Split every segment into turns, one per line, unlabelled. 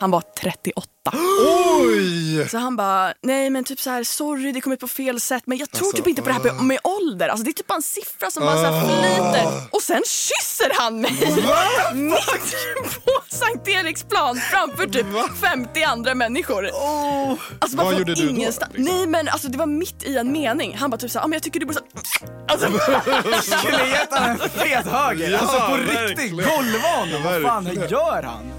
Han var 38. Så han bara, nej men typ så här, sorry det kom ut på fel sätt men jag tror
Alltså,
typ inte på det här
ah.
med, med ålder. Alltså det är typ bara en siffra som bara så här flyter. Och sen kysser han mig! Mitt på Sankt Eriksplan framför typ 50 andra människor. Alltså bara
Oh. Vad
från
gjorde du då, liksom?
ingenstans. Nej men alltså det var mitt i en mening. Han bara typ så här, ah, men jag tycker du borde så här, alltså,
skulle gett han en fet höger.
Ja,
alltså på riktigt,
verkligen.
golva honom. Vad fan
Verkligen.
gör han?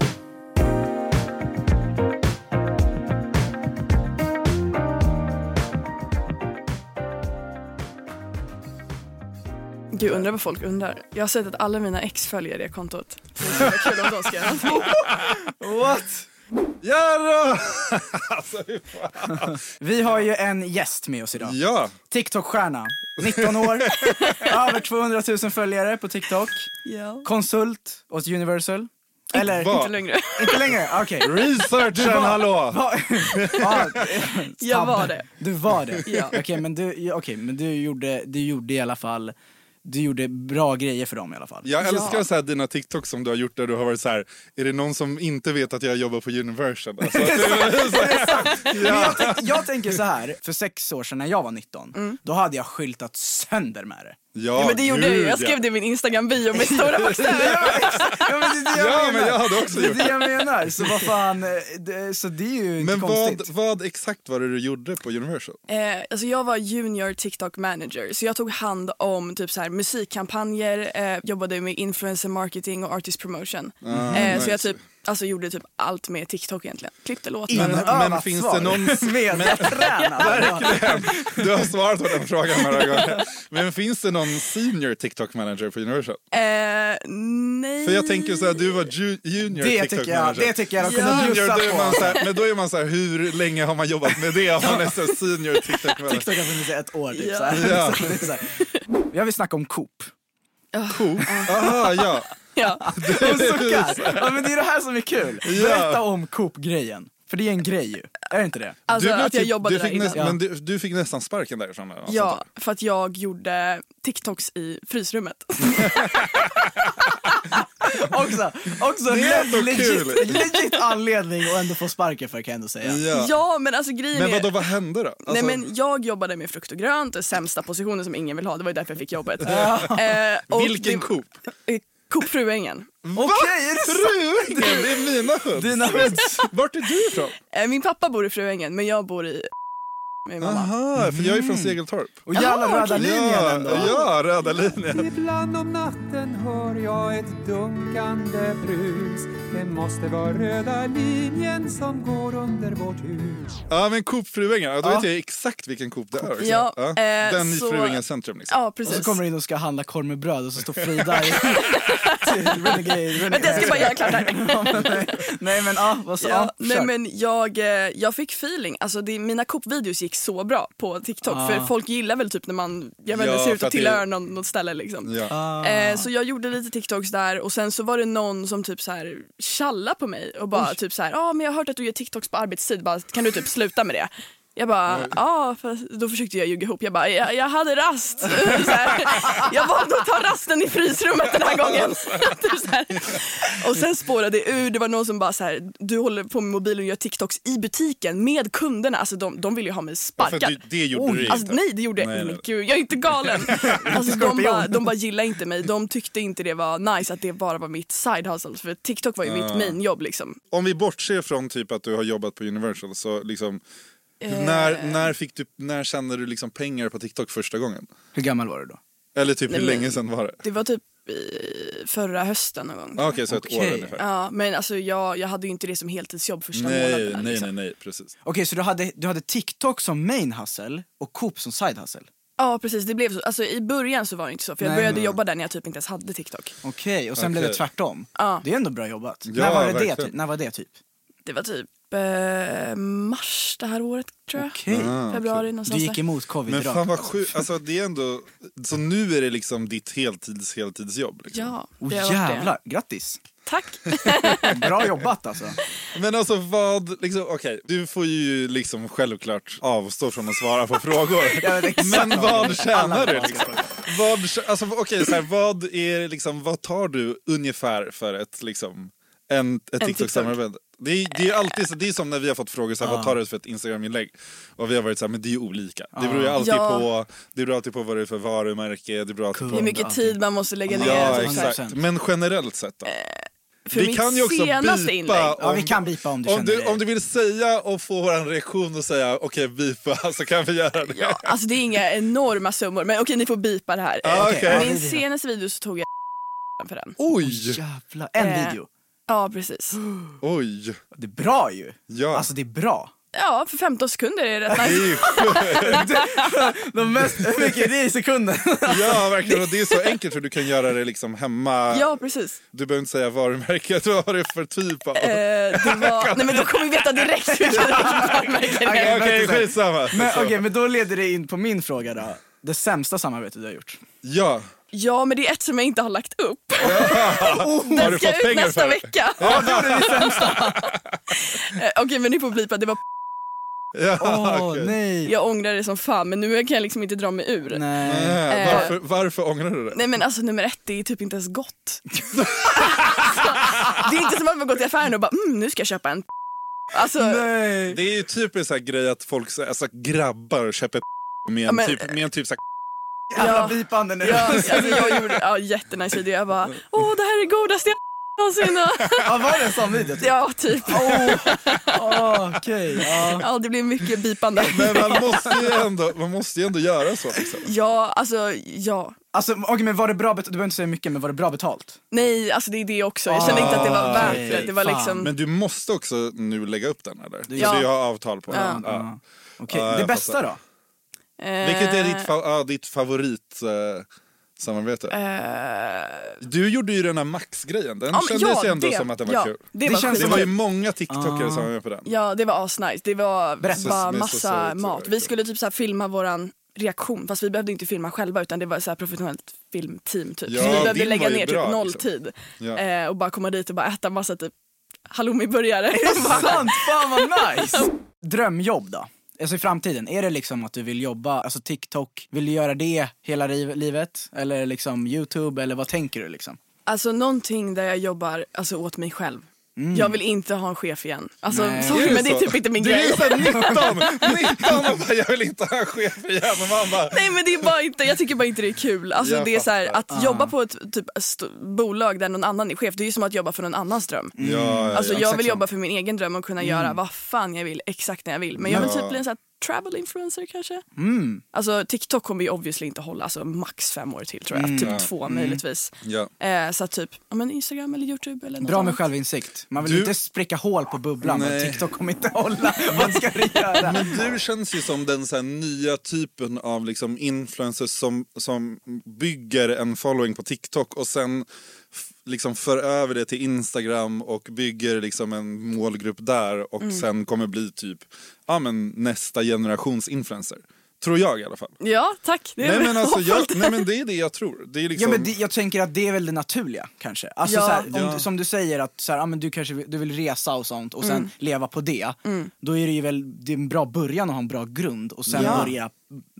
Gud, undrar vad folk undrar. Jag har sett att alla mina ex följer det kontot. Det skulle vara kul om de ska göra någonting.
What?
Ja,
Vi har ju en gäst med oss idag.
ja.
TikTok-stjärna, 19 år, över 200 000 följare på TikTok,
Ja.
konsult åt Universal. Eller?
Inte längre.
Inte längre? Ah, Okej.
Researchen, hallå!
Va- ja,
Jag var det.
Du var det?
Ja.
Okej, men, du, ja, okej, men du, gjorde, du gjorde i alla fall du gjorde bra grejer för dem i alla fall.
Jag älskar
Ja.
så här dina TikToks som du har gjort där du har varit så här, är det någon som inte vet att jag jobbar på Universal? Alltså, att det är så här,
Men jag, tänk, jag tänker så här, för sex år sedan när jag var 19,
Mm.
då hade jag skyltat sönder med det.
ja,
Men det gjorde jag ju.
gud,
Jag skrev det i min Instagram-bio med stora bokstäver.
Ja, exakt. ja, men det är det jag menar.
Ja, men jag hade också
Det är
gjort
det jag menar, så vad fan, eh, det, så det är ju inte
Men vad,
konstigt.
vad exakt var det du gjorde på Universal?
Eh, alltså jag var junior TikTok manager så jag tog hand om typ så här, musikkampanjer, eh, jobbade med influencer marketing och artist promotion.
Ah,
eh, så jag typ, alltså, gjorde typ allt med TikTok egentligen. Klippte låtar.
Men-
Inövat
men finns det
svar.
någon-
Vältränad.
Du har svarat på den frågan några gånger. Men finns det någon senior TikTok-manager på Universal?
Eh, nej.
För jag tänker så här, du var ju,
Det
junior
tycker jag,
TikTok-manager.
det tycker jag de
Ja.
kunde
Junior,
bjussa
då är man
på.
så här, men då är man så här, hur länge har man jobbat med det om man är så här senior TikTok-manager?
TikTok har funnits i ett år typ.
Ja.
Så här.
Ja.
Så det är så här. Jag vill snacka om Coop.
Coop?
Mm.
Aha, ja.
Ja.
Hon suckar. Ja, men det är det här som är kul.
Ja.
Berätta om Coop-grejen. För det är en grej ju. Är det inte det?
Alltså
blev
att jag
typ-
jobbade
du
där
fick
innan.
näst- Men du, du fick nästan sparken alltså. därifrån? eller något sånt
Ja, för att jag gjorde TikToks i frysrummet.
Också, också
Det är ändå
en legit,
kul.
legit anledning att ändå få sparken för kan jag ändå säga.
där.
Ja,
Ja.
men alltså grejen
Men
är...
vadå, vad hände då? Alltså,
Nej, men jag jobbade med frukt och grönt, den sämsta positionen som ingen vill ha. Det var ju därför jag fick jobbet. Eh, och
vilken
det-
Coop?
eh, Coop Fruängen.
Okej, är det sant?
Fruängen, det är mina hoods!
Dina hoods.
Vart är du ifrån?
Eh, min pappa bor i Fruängen, men jag bor i med mamma.
Aha, för jag är
Mm.
från Segeltorp.
Och jävla
Jaha,
röda
okej.
linjen ändå.
ja, röda linjen.
Ibland om natten hör jag ett dunkande brus Det måste vara röda linjen som går under vårt hus
Ja, men Coop Fruängen, ja, då
Ja.
vet jag exakt vilken Coop det är. också.
Ja, eh,
Den i
så-
Fruängen centrum. Liksom.
Ja,
Och så
precis.
kommer du in och ska handla korv med bröd och så står Frida i... till Renegade, Renegade.
Men jag ska bara göra klart här.
Ja, men nej. nej men ja, vad så?
Ja,
Ja,
nej
kör.
men jag, eh, jag fick feeling. Alltså det, mina Coop-videos gick så bra på TikTok.
Ah.
För folk gillar väl typ när man jag vet,
Ja,
inte ser ut
för
att
att det-
tillhöra någon, något ställe liksom.
Ja.
Ah.
Eh, så jag gjorde lite TikToks där och sen så var det någon som typ så här tjallade på mig och bara typ så här, ja ah, men jag har hört att du gör TikToks på arbetstid, bara, kan du typ sluta med det? Jag bara, ja, ah, fast- då försökte jag ljuga ihop. Jag bara, jag, jag hade rast. så här, jag valde att ta rasten i frysrummet den här gången. typ så här. Och sen spårade det ur. Det var någon som bara så här, du håller på med mobilen och gör TikToks i butiken med kunderna. Alltså de, de vill ju ha mig
För
sparkad.
det, det gjorde du
Alltså,
inte.
nej det gjorde jag
Nej,
inte.
nej,
Men Gud, jag är inte galen. Alltså, de,
Skorpion.
bara, de bara gillade inte mig. De tyckte inte det var nice att det bara var mitt side hustle. För TikTok var ju
Ah.
mitt mainjobb liksom.
Om vi bortser från typ att du har jobbat på Universal, så liksom, när,
Eh.
när, fick du, när tjänade du liksom pengar på TikTok första gången?
Hur gammal var du då?
Eller typ
Nej,
hur
men-
länge sedan var det?
Det var typ eh, förra hösten någon gång.
Ah, Okej, så ett
Okej.
år ungefär.
Ja, men alltså jag, jag hade ju inte det som heltidsjobb första
Nej,
månaden.
nej,
liksom.
nej, nej, precis.
Okej, så du hade, du hade TikTok som main hustle och Coop som side hustle?
Ja precis, det blev så. Alltså, I början så var det inte så. För jag
Nej,
började
nej.
jobba där när jag typ inte ens hade TikTok.
Okej, och sen blev det
Okej.
tvärtom?
Ja.
Det är ändå bra jobbat.
Ja,
när, var det det,
verkligen.
typ? när var det typ?
Det var typ eh, mars det här året tror jag.
Okej.
Ah,
Februari
Du
någonstans
gick
där.
emot covid
Men
rakt
fan vad sjukt. Alltså, det är ändå... Så nu är det liksom ditt heltids heltidsjobb. Liksom.
Ja,
Oh,
det har varit det.
jävlar, grattis!
Tack.
Bra jobbat alltså.
Men alltså vad, liksom, okej, du får ju liksom självklart avstå från att svara på frågor.
Jag vet exakt
Men
vad
vad
du-
tjänar
alla
du?
frågor.
Liksom? Vad, tjä- alltså, okej, så här, vad, är, liksom, vad tar du ungefär för ett, liksom, en, ett TikTok-samarbete? Det är, det, är alltid, så- det är som när vi har fått frågor, så här, vad tar du för ett Instagram-inlägg? Och vi har varit så här, men det är ju olika. Det beror ju alltid,
Ja.
på, det beror alltid på vad det är för varumärke, det beror alltid
Hur
på...
mycket tid man måste lägga ner.
Ja,
alltså,
exakt.
exakt. Men generellt sett då?
För mitt senaste inlägg.
Ja, vi kan bipa om du
om
känner
du,
dig-
om du vill säga och få vår reaktion och säga okej bipa så kan vi göra det.
Ja, alltså det är inga enorma summor. Men okej, ni får bipa det här.
Ah,
okej.
okej.
Min senaste video så tog jag för den.
Oj,
Jävlar, en
Eh.
video.
Ja, precis.
oj.
Det är bra ju.
Ja.
Alltså det är bra.
Ja, för 15 sekunder är det rätt nice.
De mest, hur mycket är det i sekunden?
Alltså,
Ja verkligen och det är så enkelt för du kan göra det liksom hemma.
Ja, precis.
Du behöver inte säga varumärket, vad har det för typ av?
Eh,
Okej
det var... Nej, men då kommer vi veta direkt vilken varumärke det är.
okay,
vänta, så här.
skitsamma.
Men
Så.
okej, men då leder det in på min fråga då. Det sämsta samarbetet du har gjort.
Ja,
Ja, men det är ett som jag inte har lagt upp.
har du
Den ska
fått
ut
pengar
nästa
för det?
vecka. Ja, det var det sämsta. Eh, Okej, men ni får blipa. Det var
Ja,
Åh
okej.
nej.
Jag ångrar det som fan, men nu kan jag liksom inte dra mig ur. Nej.
Nej.
Äh,
Eh.
varför, varför ångrar du det?
men alltså nummer ett, det är typ inte ens gott. alltså, det är inte som att man går till affären och bara, mm, nu ska jag köpa en Alltså,
Nej.
Det är ju typ en sån här grej att folk, så- alltså grabbar köper med
Ja,
en
men-
typ, med en typ så här
Jävla
Ja.
bipande nu.
ja,
Ja.
alltså jag gjorde ja, jättenice video. Jag bara, åh det här är godaste jag någonsin har."
var det en sån video? typ?
Ja, typ.
Åh, Okej. ja.
Ja, det blev mycket bipande.
Men man måste ju ändå, man måste ju ändå göra så. Liksom.
Ja, alltså ja.
Alltså okej, men var det bra betalt? Du behöver inte säga mycket, men var det bra betalt?
Nej, alltså det är det också. Jag kände inte att det
Ah,
var värt det. Det var
Fan.
liksom,
Men du måste också nu lägga upp den eller?
Ja.
Så du har avtal på den. Ja.
Ah, Okej,
Ja,
det
jag
bästa då?
fattar.
eh, Eh.
Vilket är ditt, fa- ja, ditt favorit eh, samarbete? Du gjorde ju den här Max-grejen. Den
ja, men
kändes
ja,
ju ändå
det-
som att den var
ja,
kul.
Det,
Det
var
känns
Det
skitkul.
var ju många tiktokare som var med på den.
Ja, det var asnice. Det var
Berätta.
bara
Med så- så-
massa
så-
mat. Vi skulle typ så här filma våran reaktion, fast vi behövde inte filma själva utan det var så här professionellt filmteam typ.
Ja,
så vi behövde
din
lägga
var ju
ner
bra,
typ noll
liksom.
tid
Ja.
eh, och bara komma dit och bara äta massa typ halloumiburgare.
Sant, fan vad nice! Drömjobb då? Alltså i framtiden, är det liksom att du vill jobba, alltså TikTok, vill du göra det hela riv- livet? Eller liksom YouTube, eller vad tänker du liksom?
alltså någonting där jag jobbar alltså, åt mig själv. Jag vill inte ha en chef igen. Alltså,
Nej.
sorry, men det är
så?
typ inte min
Du Mm. är
grej.
ju såhär 19! 19 och bara, jag vill inte ha en chef igen. Och man bara,
Nej men det är bara inte, jag tycker bara inte det är kul. Alltså,
Jag
det är så här,
fattar. Ah.
att jobba på ett typ, st- bolag där någon annan är chef, det är ju som att jobba för någon annans dröm.
ja, ja, Mm.
Alltså
ja.
jag
exakt
vill
så.
jobba för min egen dröm och kunna göra vad fan jag vill, exakt när jag vill. Men jag vill typ bli en sån här travel influencer kanske.
Mm.
Alltså TikTok kommer ju obviously inte hålla, alltså max fem år till tror
Mm,
jag. Typ två möjligtvis.
Ja.
Eh, så att typ, ja men Instagram eller Youtube eller något
Bra med
annat.
självinsikt. Man vill
Du-
inte spricka hål på bubblan, men
Nej.
TikTok kommer inte hålla. Vad ska du göra?
Men du känns ju som den så här nya typen av liksom influencers som, som bygger en following på TikTok och sen f- liksom för över det till Instagram och bygger liksom en målgrupp där och sen kommer bli typ ja, men nästa generations influencer. Tror jag i alla fall.
Ja, tack. Det är
Nej men, alltså,
hoppfullt.
jag, nej men det är det jag tror. Det är
Ja,
liksom,
men det, jag tänker att det är väl det naturliga kanske. Alltså,
Ja.
så här, om,
Ja.
du- Som du säger, att så här, ah, men du kanske vill, du vill resa och sånt och sen
Mm.
leva på det. Då är det ju väl det är en bra början att ha en bra grund och sen
Ja.
börja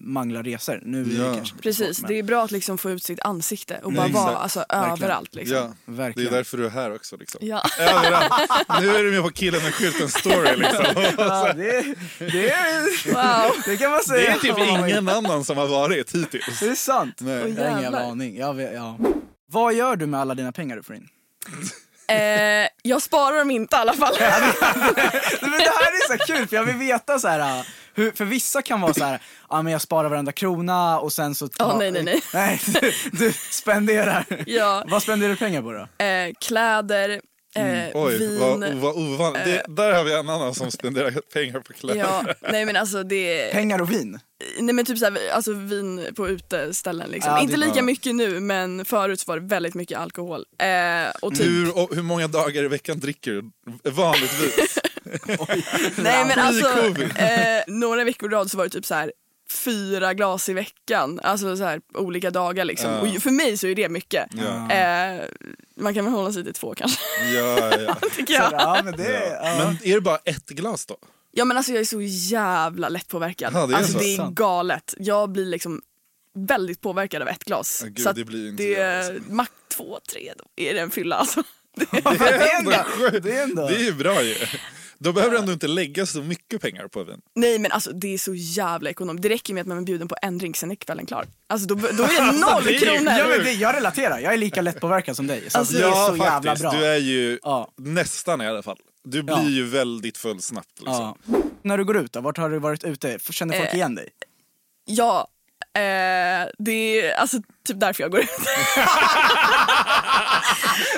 mangla resor. Nu är det
Ja.
kanske lite
Precis,
svårt,
det är bra att liksom få ut sitt ansikte och bara
Mm,
vara
exakt.
alltså,
Verkligen.
överallt. Liksom.
ja, det är
Verkligen.
därför du är här också. Liksom.
Ja.
Överallt. Nu är du med på killen med skylten story. Liksom.
Ja, det, det,
Wow.
det kan man säga.
Det är typ ingen annan som har varit hittills.
Det är sant.
Nej.
Jag har ingen jävla
jävlar.
aning. Jag vet, ja. Vad gör du med alla dina pengar du får in?
Eh, jag sparar dem inte i alla fall.
Nej, Men det här är så här kul för jag vill veta så här. äh, Hur, för vissa kan vara så här, ja men jag sparar varenda krona och sen så...
Åh, nej, nej, nej.
nej du, du spenderar.
Ja.
Vad spenderar du pengar på då?
Eh, kläder, eh,
Mm. Oj,
vin.
vad, vad ovanligt.
eh,
Det, där har vi en annan som spenderar pengar på kläder.
Ja, nej men alltså det
Pengar och vin?
Nej men typ såhär, alltså vin på uteställen liksom.
Ja, det-
Inte lika mycket nu men förut så var det väldigt mycket alkohol. Eh, och typ,
Hur, och, hur många dagar i veckan dricker du vanligtvis?
Nej men alltså,
Pre-covid.
eh, några veckor i rad så var det typ så här fyra glas i veckan, alltså så här olika dagar liksom.
Ja.
Och ju- för mig så är det mycket.
Ja.
Eh, man kan väl hålla sig till två kanske,
Ja, ja.
tycker
Så,
jag.
ja, men det, ja.
Men är det bara ett glas då?
Ja men alltså jag är så jävla lättpåverkad.
Ja, det är
alltså
så.
det är
Sant.
galet. Jag blir liksom väldigt påverkad av ett glas.
Ja, gud,
så att
det blir inte
det
jag,
är max två, tre då är det en fylla alltså.
det är ändå... Det är ändå.
Det är ju bra ju. Då behöver du ändå inte lägga så mycket pengar på vin.
Nej men alltså det är så jävla ekonomiskt. Det räcker med att man är bjuden på en drink, sen är kvällen klar. Alltså då, då är det noll
det är ju-
kronor.
Ja, men det, jag relaterar, jag är lika lättpåverkad som dig. Så
Alltså,
det är så jävla
faktiskt.
bra.
Du är ju
Ja.
nästan i alla fall. Du blir
Ja.
ju väldigt full snabbt. Liksom.
ja. När du går ut då, vart har du varit ute? Känner folk
Eh,
igen dig?
Ja, eh, det är alltså typ därför jag går ut.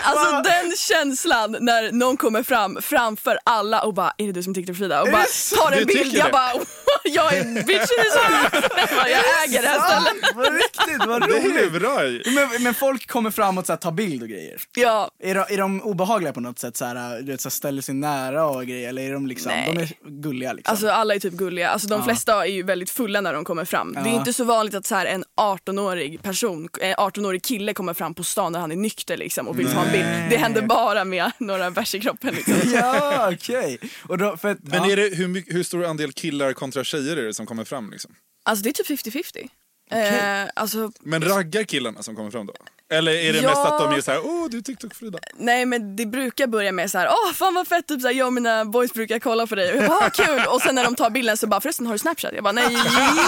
alltså den känslan när någon kommer fram framför alla och bara är det du som tittar på Frida? Och bara
det
tar en
Du
bild.
tycker
Jag
det?
bara jag är bitch i huset. Jag bara, Jag äger det här stället.
Ah, Vad riktigt, vad
Det är ju
roligt!
bra ju.
Men, men folk kommer fram och så här, tar bild och grejer.
Ja,
Är de, är de obehagliga på något sätt? Så här, du vet, så här, ställer sig nära och grejer? Eller är de liksom,
Nej.
de är gulliga liksom?
alltså alla är typ gulliga. Alltså de flesta är ju väldigt fulla när de kommer fram. Det är
Ja.
inte så vanligt att så här en 18-årig person, en 18-årig kille kommer fram på stan när han är nykter liksom och vill ta en bild. Det händer bara med några bärs i kroppen liksom.
ja, okej. Och då, för att-
Men
ja.
är det, hur, mycket- hur stor andel killar kontra tjejer är det som kommer fram? Liksom?
Alltså det är typ 50-50. Eh, alltså,
Men raggar killarna som kommer fram då? Eller är det
Ja.
mest att de är så här, åh du är TikTok-Frida?
nej men det brukar börja med så här, åh fan vad fett, typ så här, jag och mina boys brukar kolla på dig. Och jag bara, "Ah, kul. Och sen när de tar bilden så bara, förresten har du Snapchat? Jag bara, nej,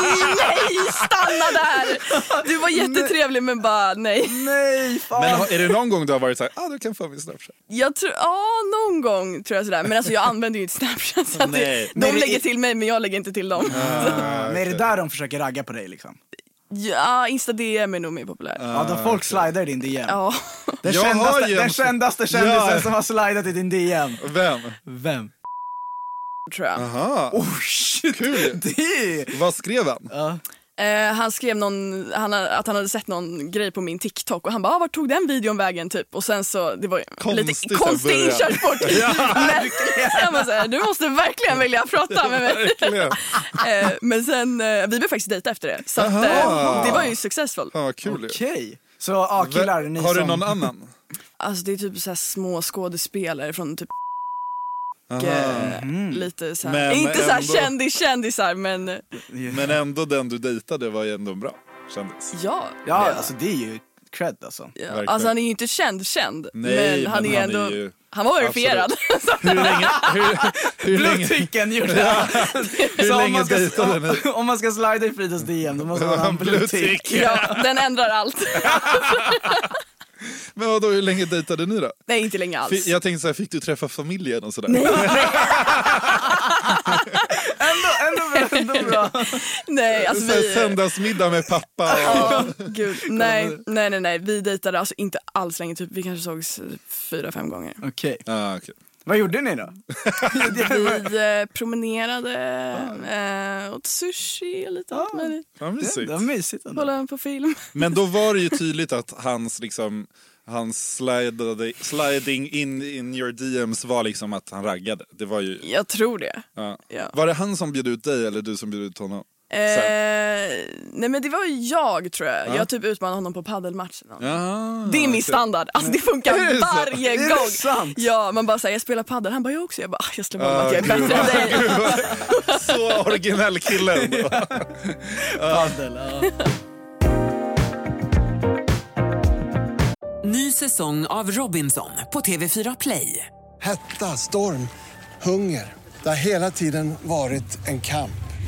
nej, stanna där. Du var jättetrevlig men bara nej.
Nej, fan!
Men har- är det någon gång du har varit så här, ah du kan få min Snapchat?
Jag tror, ja någon gång tror jag sådär. Men alltså jag använder ju inte Snapchat så att det,
Nej.
de
Men det
lägger
är-
till mig men jag lägger inte till dem.
Ah,
Ah,
Men är det där de försöker ragga på dig liksom?
Ja, Insta DM är nog mer populär.
Ja, då folk slidar i din DM.
Ja.
Den,
Ah, Jag har
kändaste,
ju en-
den kändaste kändisen
Ja.
som har slidat i din DM.
Vem?
Vem?
tror jag.
Aha.
Oh shit!
Kul.
Det!
Vad skrev han?
Ja.
Eh, han skrev någon, han, ha- att han hade sett någon grej på min TikTok och han bara ah, vart tog den videon vägen typ och sen så det var ju
Konstigt
lite
att
konstig
börja.
inkörsport. men, jag bara, så här, du måste verkligen vilja prata med mig.
Verkligen.
Eh, men sen, eh, vi började faktiskt dejta efter det så att, eh,
Jaha.
det var ju successful.
Fan vad kul ju.
Okej. Så ja, killar,
Vem-
ni
Har
som...
du någon annan?
Alltså det är typ så här små skådespelare från typ
Aha.
eh, lite så här,
Mm-hmm. Men
inte så här
ändå.
kändis kändisar men
Men ändå den du dejtade var ju ändå en bra kändis.
ja.
Ja, alltså det är ju cred alltså.
Ja,
verkligen.
Alltså han är ju inte känd känd
Nej,
men han
men
är
han
ändå,
är ju-
han var verifierad.
Hur länge, hur, hur länge,
Blodticken gjorde det!
hur
Så om
länge
man ska-
dejtade ni?
Om man ska slida i Fridas DM då måste man ha en blodtick.
ja, den ändrar allt.
Men vadå, hur länge dejtade ni då?
Nej, inte länge alls.
Fi- Jag tänkte så här, fick du träffa familjen och sådär?
Ändå, ändå bra.
Nej, alltså
Så här,
vi...
söndagsmiddag med pappa och...
Ja, gud. Nej, nej, nej, nej. Vi dejtade alltså inte alls länge. Typ. Vi kanske sågs eh, fyra, fem gånger.
Okej.
Ah, okej.
Vad gjorde ni då?
Vi eh, promenerade, eh, åt sushi och lite allt möjligt.
Vad
Det
mysigt.
var mysigt ändå.
Kollade på film.
Men då var det ju tydligt att hans liksom han slidade, sliding in in your DMs var liksom att han raggade. Det var ju...
Jag tror det.
Ja.
Ja.
Var det han som bjöd ut dig eller du som bjöd ut honom?
Eh, nej men det var ju jag tror jag.
Ja.
Jag typ utmanade honom på padelmatchen.
Ah,
Det är min
okej.
standard. Alltså det funkar
Är det så?
varje
Är det
gång.
sant?
Ja, man bara säger jag spelar padel. Han bara jag också. Jag bara "Ah, jag slår bara
Ah,
att jag är
gud,
bättre än
vad-
dig.
gud, vad- Så originell kille ändå.
Padel, ja.
Ny säsong av Robinson på TV4 Play.
Hetta, storm, hunger. Det har hela tiden varit en kamp.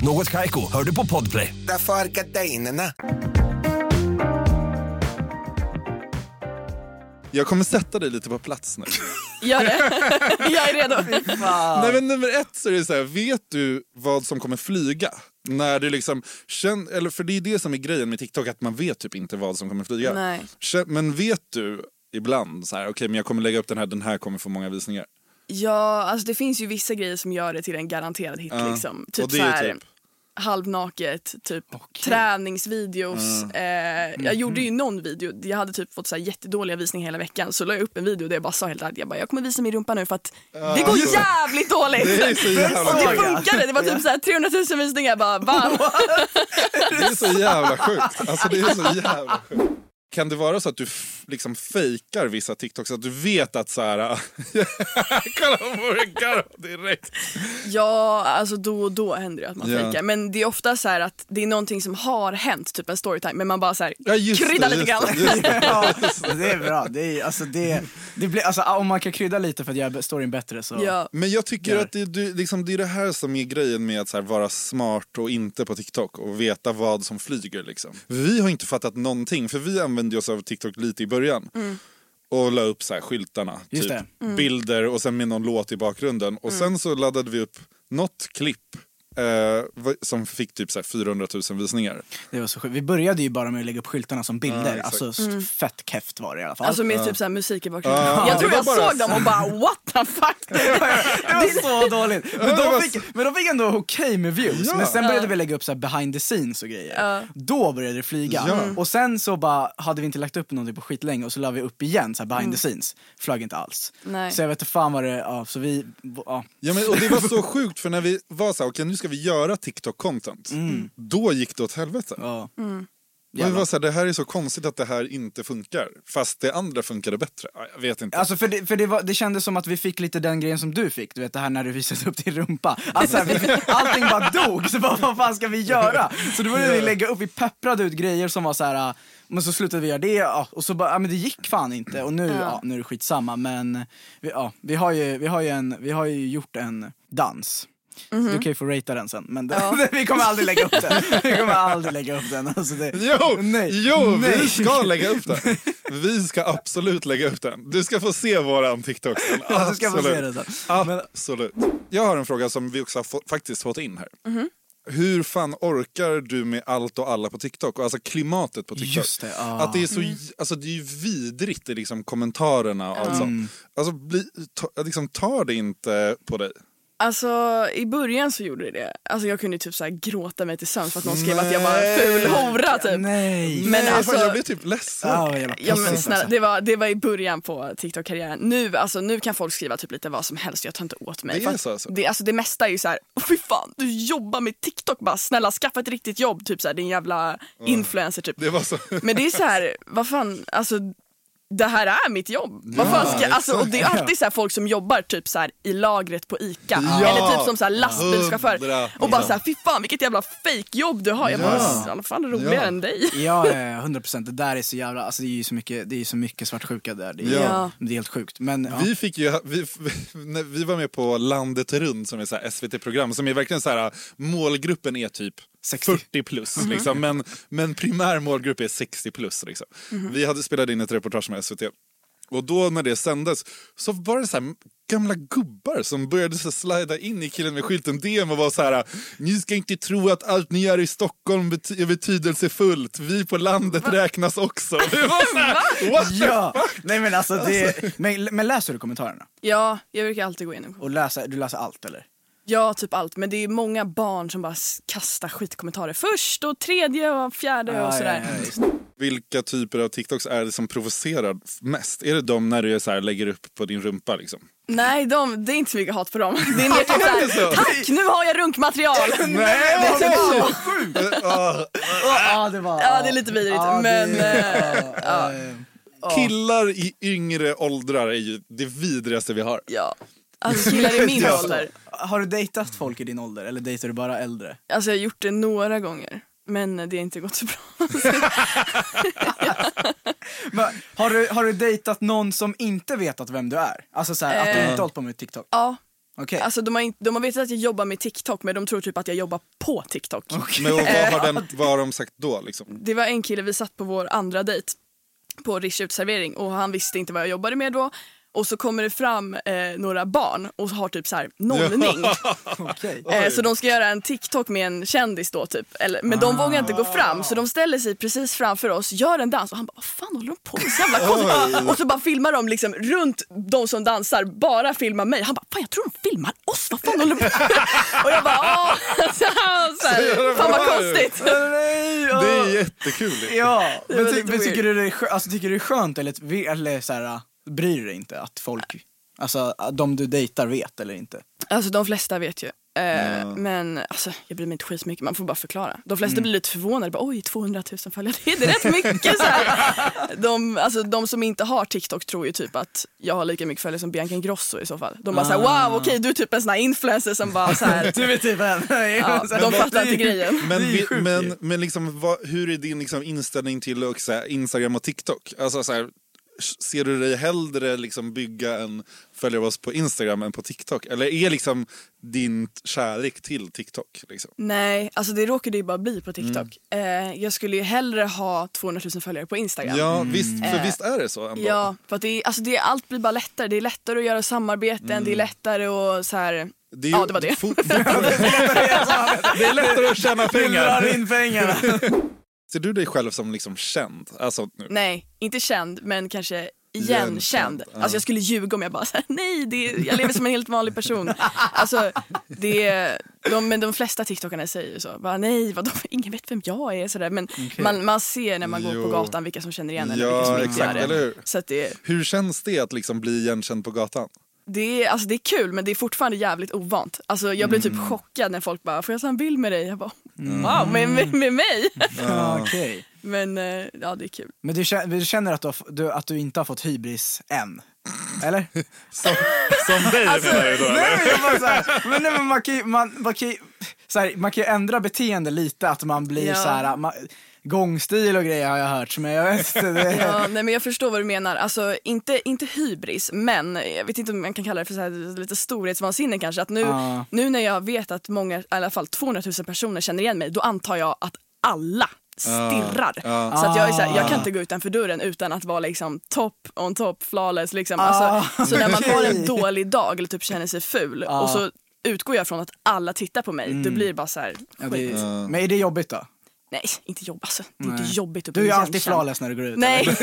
Något Kaiko, hör du på Podplay.
Därför arkadeinerna.
Jag kommer sätta dig lite på plats nu.
Gör det. Jag är redo.
Nej, men nummer ett så är det så här, vet du vad som kommer flyga? När du liksom, känn, eller för det är det som är grejen med TikTok, att man vet typ inte vad som kommer flyga.
Nej.
Känn- men vet du ibland så här, okej men jag kommer lägga upp den här, den här kommer få många visningar.
Ja, alltså det finns ju vissa grejer som gör det till en garanterad hit
Ja.
liksom.
Och
Typ
det
så
är
här,
typ?
halvnaket, typ träningsvideos. Eh,
Mm.
jag gjorde ju någon video, jag hade typ fått så här jättedåliga visningar hela veckan så la jag upp en video där jag bara sa helt ärligt, jag bara jag kommer visa min rumpa nu för att det går
just det.
jävligt dåligt.
Det är så jävla
och det
sjukt.
funkade, det var typ så här 300 000 visningar, jag bara va?
Det är så jävla sjukt. Alltså det är så jävla sjukt. Kan det vara så att du f- liksom fejkar vissa TikToks? Att du vet att så här... Kolla på det direkt.
Ja, alltså då och då händer det att man
Ja.
fejkar. Men det är ofta så här att det är någonting som har hänt, typ en storytime, men man bara så här
Ja, just det,
kryddar
just
lite grann.
det, just det.
Ja, det är bra. Det är, alltså, det, det blir, alltså, om man kan krydda lite för att göra storyn bättre så...
Ja.
Men jag tycker
Gör.
att det, du, liksom, det är det här som är grejen med att så här, vara smart och inte på TikTok och veta vad som flyger. Liksom. Vi har inte fattat någonting, för vi använde oss av TikTok lite i början. Och la upp så här, skyltarna,
Just
typ, bilder och sen med någon låt i bakgrunden. Och sen så laddade vi upp något klipp eh, vad- som fick typ så här, 400 000 visningar.
Det var så sjukt. Vi började ju bara med att lägga upp skyltarna som bilder.
Ja, exakt.
alltså s- fett keft var det i alla fall.
Mm. Alltså med typ såhär musik i bakgrunden.
Ja.
Jag tror
Det
jag
var bara-
såg dem och bara what the fuck.
det var så dåligt. Men
det var
de fick, men de fick ändå okej med views.
Ja.
Men sen började vi lägga upp så här behind the scenes och grejer. Då började det flyga.
Ja.
Och sen så bara hade vi inte lagt upp någonting på skitlänge och så la vi upp igen så här behind the
Mm.
scenes. Flög inte alls.
Nej.
Så jag vet inte fan vad det, ja, så vi, ja.
Ja, men, och det var så sjukt, för när vi var så här, okej nu ska vi göra TikTok-content, då gick det åt helvete.
ja.
Men det, var så här, det här är så konstigt att det här inte funkar, fast det andra funkade bättre. Ja, Jag vet inte.
Alltså för det, för det, var, det kändes som att vi fick lite den grejen som du fick, du vet det här när du visade upp din rumpa. Alltså, vi, allting bara dog, så bara, vad fan ska vi göra? Så då började vi lägga upp, vi pepprade ut grejer som var så här. äh, men så slutade vi göra det ja, och så bara, ja, men det gick fan inte och nu, ja, nu är det skitsamma men vi, ja, vi, har ju, vi, har ju en, vi har ju gjort en dans.
Mhm.
Du kan ju få ratea den sen men vi kommer aldrig lägga upp den. Vi kommer aldrig lägga upp den. Alltså det,
Jo,
nej,
jo
nej.
vi ska lägga upp den. Vi ska absolut lägga upp den. Du ska få se våran TikTok sen.
Ja, du ska få se det sen. Men-
Absolut. Jag har en fråga som vi också har fått, faktiskt fått in här.
Mhm.
Hur fan orkar du med allt och alla på TikTok? Och alltså klimatet på TikTok.
Just det, ah.
Att det är så, alltså det är ju vidrigt i liksom kommentarerna och allt
Mm.
sånt. Alltså bli, ta, liksom tar det inte på dig?
Alltså i början så gjorde det det. Alltså jag kunde ju typ såhär gråta mig till sömns för att någon skrev att jag var en ful hora typ.
nej.
Men
Nej,
alltså-
fan, jag blir typ ledsen.
Ja, vad jävla
Ja, men
pussis,
snälla,
alltså.
det, var, det var i början på TikTok-karriären. Nu, alltså, nu kan folk skriva typ lite vad som helst, jag tar inte åt mig.
Det är
För att
så, alltså.
Det, alltså, det mesta är ju så här, "Åh, fy fan, du jobbar med TikTok bara, snälla skaffa ett riktigt jobb, typ så här, din jävla influencer typ.
Det var så.
Men det är så här, vad fan, alltså det här är mitt jobb. Vad fan ska, alltså, och det är alltid så här folk som jobbar typ så här i lagret på ICA
Ja.
eller typ som så här
Hundra.
lastbilschaufför och bara
Ja.
så här, fy fan vilket jävla fejkjobb du har. Jag bara, "Alltså,
Ja.
i alla fall roligare
Ja.
än dig.
Ja, ja, ja, 100 procent. Det där är så jävla, alltså det är ju så mycket, det är ju så mycket svartsjuka där. Det är,
Ja.
det är helt sjukt. Men ja.
Vi, fick ju, vi, när vi var med på Landet runt som är så här SVT-program som är verkligen så här målgruppen är typ
60.
40 plus liksom, men, men primär målgrupp är 60 plus liksom. Vi hade spelat in ett reportage med SVT och då när det sändes så var det så här gamla gubbar som började så här slida in i killen med skylten DM och var så här ni ska inte tro att allt ni gör i Stockholm bety- är betydelsefullt, vi på landet räknas också. Vi var så här, what the
ja. Nej men alltså det, men, men läser du kommentarerna?
Ja, jag brukar alltid gå in och
Och läser, du läser allt eller?
Ja, typ allt. Men det är många barn som bara s- kastar skitkommentarer först och tredje och fjärde och sådär.
Ja, ja, ja, just.
Vilka typer av TikToks är det som provocerar mest? Är det de när du är så här, lägger upp på din rumpa? Liksom?
Nej, de, det är inte så mycket hat på dem. Det är mer typ såhär, tack nu har jag runkmaterial.
Nej, vad
så.
Eh, ah,
Ja det var,
Ja, det är lite vidrigt.
Ja, det-
men eh,
ja, eh,
Killar i yngre åldrar är ju det vidrigaste vi har.
ja, alltså killar i min
Ja.
ålder.
Har du dejtat folk i din ålder eller dejtar du bara äldre?
Alltså jag har gjort det några gånger. Men det har inte gått så bra.
Men, har, du, har du dejtat någon som inte vetat vem du är? Alltså såhär, att du inte hållit på med TikTok?
Ja,
Okej.
alltså de har, inte, de har vetat att jag jobbar med TikTok men de tror typ att jag jobbar på TikTok.
Men vad, har den, vad har de sagt då? Liksom?
det var en kille, vi satt på vår andra dejt på Rish uteservering och han visste inte vad jag jobbade med då. Och så kommer det fram eh, några barn och har typ så här nollning.
Okej.
Eh, så de ska göra en TikTok med en kändis då typ. Eller, men de vågar inte gå fram så de ställer sig precis framför oss, gör en dans och han bara vad fan håller de på med? Så jävla konstigt. Och så bara filmar de liksom runt de som dansar, bara filmar mig. Han bara fan jag tror de filmar oss, vad fan håller de på med? Och jag bara åh, så här, så här, fan vad konstigt.
Nej, ja.
Det är jättekul.
Ja,
var
men, ty,
lite
men
weird.
tycker du det är skönt, alltså, tycker du det är skönt eller, vi- eller så här, bryr du dig inte att folk, alltså de du dejtar vet eller inte?
Alltså de flesta vet ju. Eh, Men alltså, jag bryr mig inte skitmycket, man får bara förklara. De flesta blir lite förvånade, bara, oj 200 000 följare, det är rätt mycket. Så här. De, alltså, de som inte har TikTok tror ju typ att jag har lika mycket följare som Bianca Ingrosso i så fall. De bara såhär, wow okej du är typ en sån här influencer som bara såhär,
Du är typ en.
ja, de fattar inte grejen.
Men,
Det är
vi,
sjukt
men,
ju.
men liksom, vad, hur är din liksom, inställning till och, så här, Instagram och TikTok? Alltså, så här, ser du dig hellre liksom, bygga en följare av oss på Instagram än på TikTok? Eller är liksom, din kärlek till TikTok? Liksom?
Nej, alltså det råkade ju bara bli på TikTok. Eh, jag skulle ju hellre ha 200 000 följare på Instagram.
Ja,
Mm.
visst, för
Eh,
visst är det så? Ändå.
Ja, för att det, är- alltså det, är- allt blir bara lättare. Det är lättare att göra samarbeten, det är lättare att så här...
är
ja, det var det.
fo- det är lättare att tjäna
Du drar
pengar.
in pengarna.
Ser du dig själv som liksom, känd? Alltså, nu.
Nej, inte känd, men kanske
Igenkänd,
igenkänd.
ja.
Alltså jag skulle ljuga om jag bara sa nej, det är, jag lever som en helt vanlig person. Alltså, det är, de, men de flesta TikTokarna säger ju så. Bara, nej, vadå, ingen vet vem jag är. Sådär. Men man, man ser när man går
Jo.
på gatan vilka som känner igen en och vilka som
Ja,
inte
exakt.
gör
Eller
det.
hur?
Så att det,
Hur känns det att liksom, bli igenkänd på gatan?
det, är, alltså det är kul, men det är fortfarande jävligt ovant. Alltså jag blir
Mm.
typ chockad när folk bara, får jag ta en bild med dig? Jag bara, wow, med, med, med mig?
Ja, Okej.
Men eh, ja, det är kul.
Men du känner, du känner att, du har, f- du, att du inte har fått hybris än? Eller? Alltså,
Som, som dig menar du då? eller?
Nej, men jag bara så här, men, nej, men man kan ju, man, man kan ju, så här, man kan ju ändra beteende lite, att man blir
Ja.
så här, man, gångstil och grejer har jag hört, men jag vet inte. Det,
Ja, nej, men jag förstår vad du menar. Alltså, inte, inte hybris, men jag vet inte om man kan kalla det för så här, lite storhetsvansinne kanske. Att nu,
Ja.
nu när jag vet att många, i alla fall 200 000 personer känner igen mig, då antar jag att alla stirrar. Så att jag, är så här, jag
Ah.
kan inte gå utanför dörren utan att vara liksom top on top, flawless. Liksom.
Ah.
Alltså, så när man har en dålig dag eller typ känner sig ful och så utgår jag från att alla tittar på mig, det blir bara så här,
Mm. Ja,
skit.
det, men är det jobbigt då?
Nej, inte jobb, alltså, det är inte jobbigt att
Du är
bli
ju alltid
igenkänd.
flawless när du går ut.
Nej.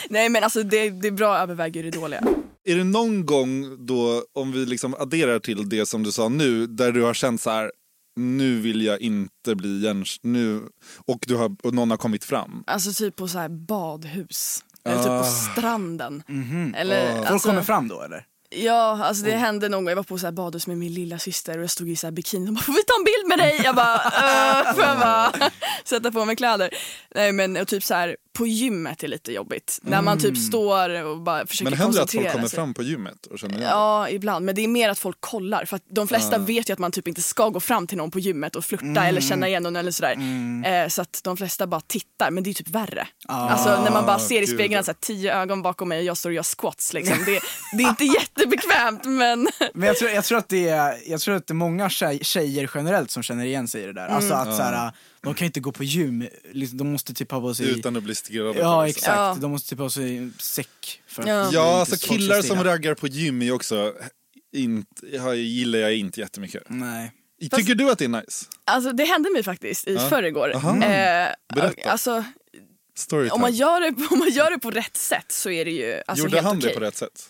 Nej men alltså det, det är bra överväger det dåliga.
Är det någon gång då, om vi liksom adderar till det som du sa nu, där du har känt så här, nu vill jag inte bli igenkänd, nu, och, du har, och någon har kommit fram?
Alltså typ på så här badhus. Eller
Ah.
typ på stranden.
Mhm.
Eller,
Folk
alltså,
kommer fram då eller?
ja, alltså
Oh.
det hände någon gång. Jag var på så här badhus med min lilla syster och jag stod i så här bikini. De bara, får vi ta en bild med dig? Jag bara, "Eh, får jag
Ah.
bara sätta på mig kläder? Nej men och typ så här på gymmet är lite jobbigt. När man typ står och bara försöker
Mm. Men händer det att folk
koncentrera
kommer
sig.
fram på gymmet och känner igen dig?
Ja, ibland. Men det är mer att folk kollar. För att de flesta vet ju att man typ inte ska gå fram till någon på gymmet och flirta
Mm.
eller känna igen någon eller sådär. Eh, så att de flesta bara tittar. Men det är ju typ värre. alltså när man bara ser i
Ah, gud.
spegeln så här, tio ögon bakom mig och jag står och gör squats liksom. Det, det är inte jättebekvämt men
Men jag tror, jag tror att det är, jag tror att det är många tjej, tjejer generellt som känner igen sig i det där.
Mm.
Alltså att så här, de kan inte gå på gym, liksom, de måste typ ha på sig
Utan att bli stirrade
Ja
på, liksom.
exakt,
Ja.
de måste typ ha sig säck för att
Ja.
det är
Ja,
inte
alltså
svårt att
killar
se.
som raggar på gym är också, inte, har- gillar jag inte jättemycket.
Nej.
Tycker du att det är nice?
alltså, det hände mig faktiskt i förrgår.
Aha.
Eh,
Berätta.
alltså, om,
Storytime.
man gör det, om man gör det på rätt sätt så är det ju alltså,
Gjorde
helt
han
okej.
det på rätt sätt?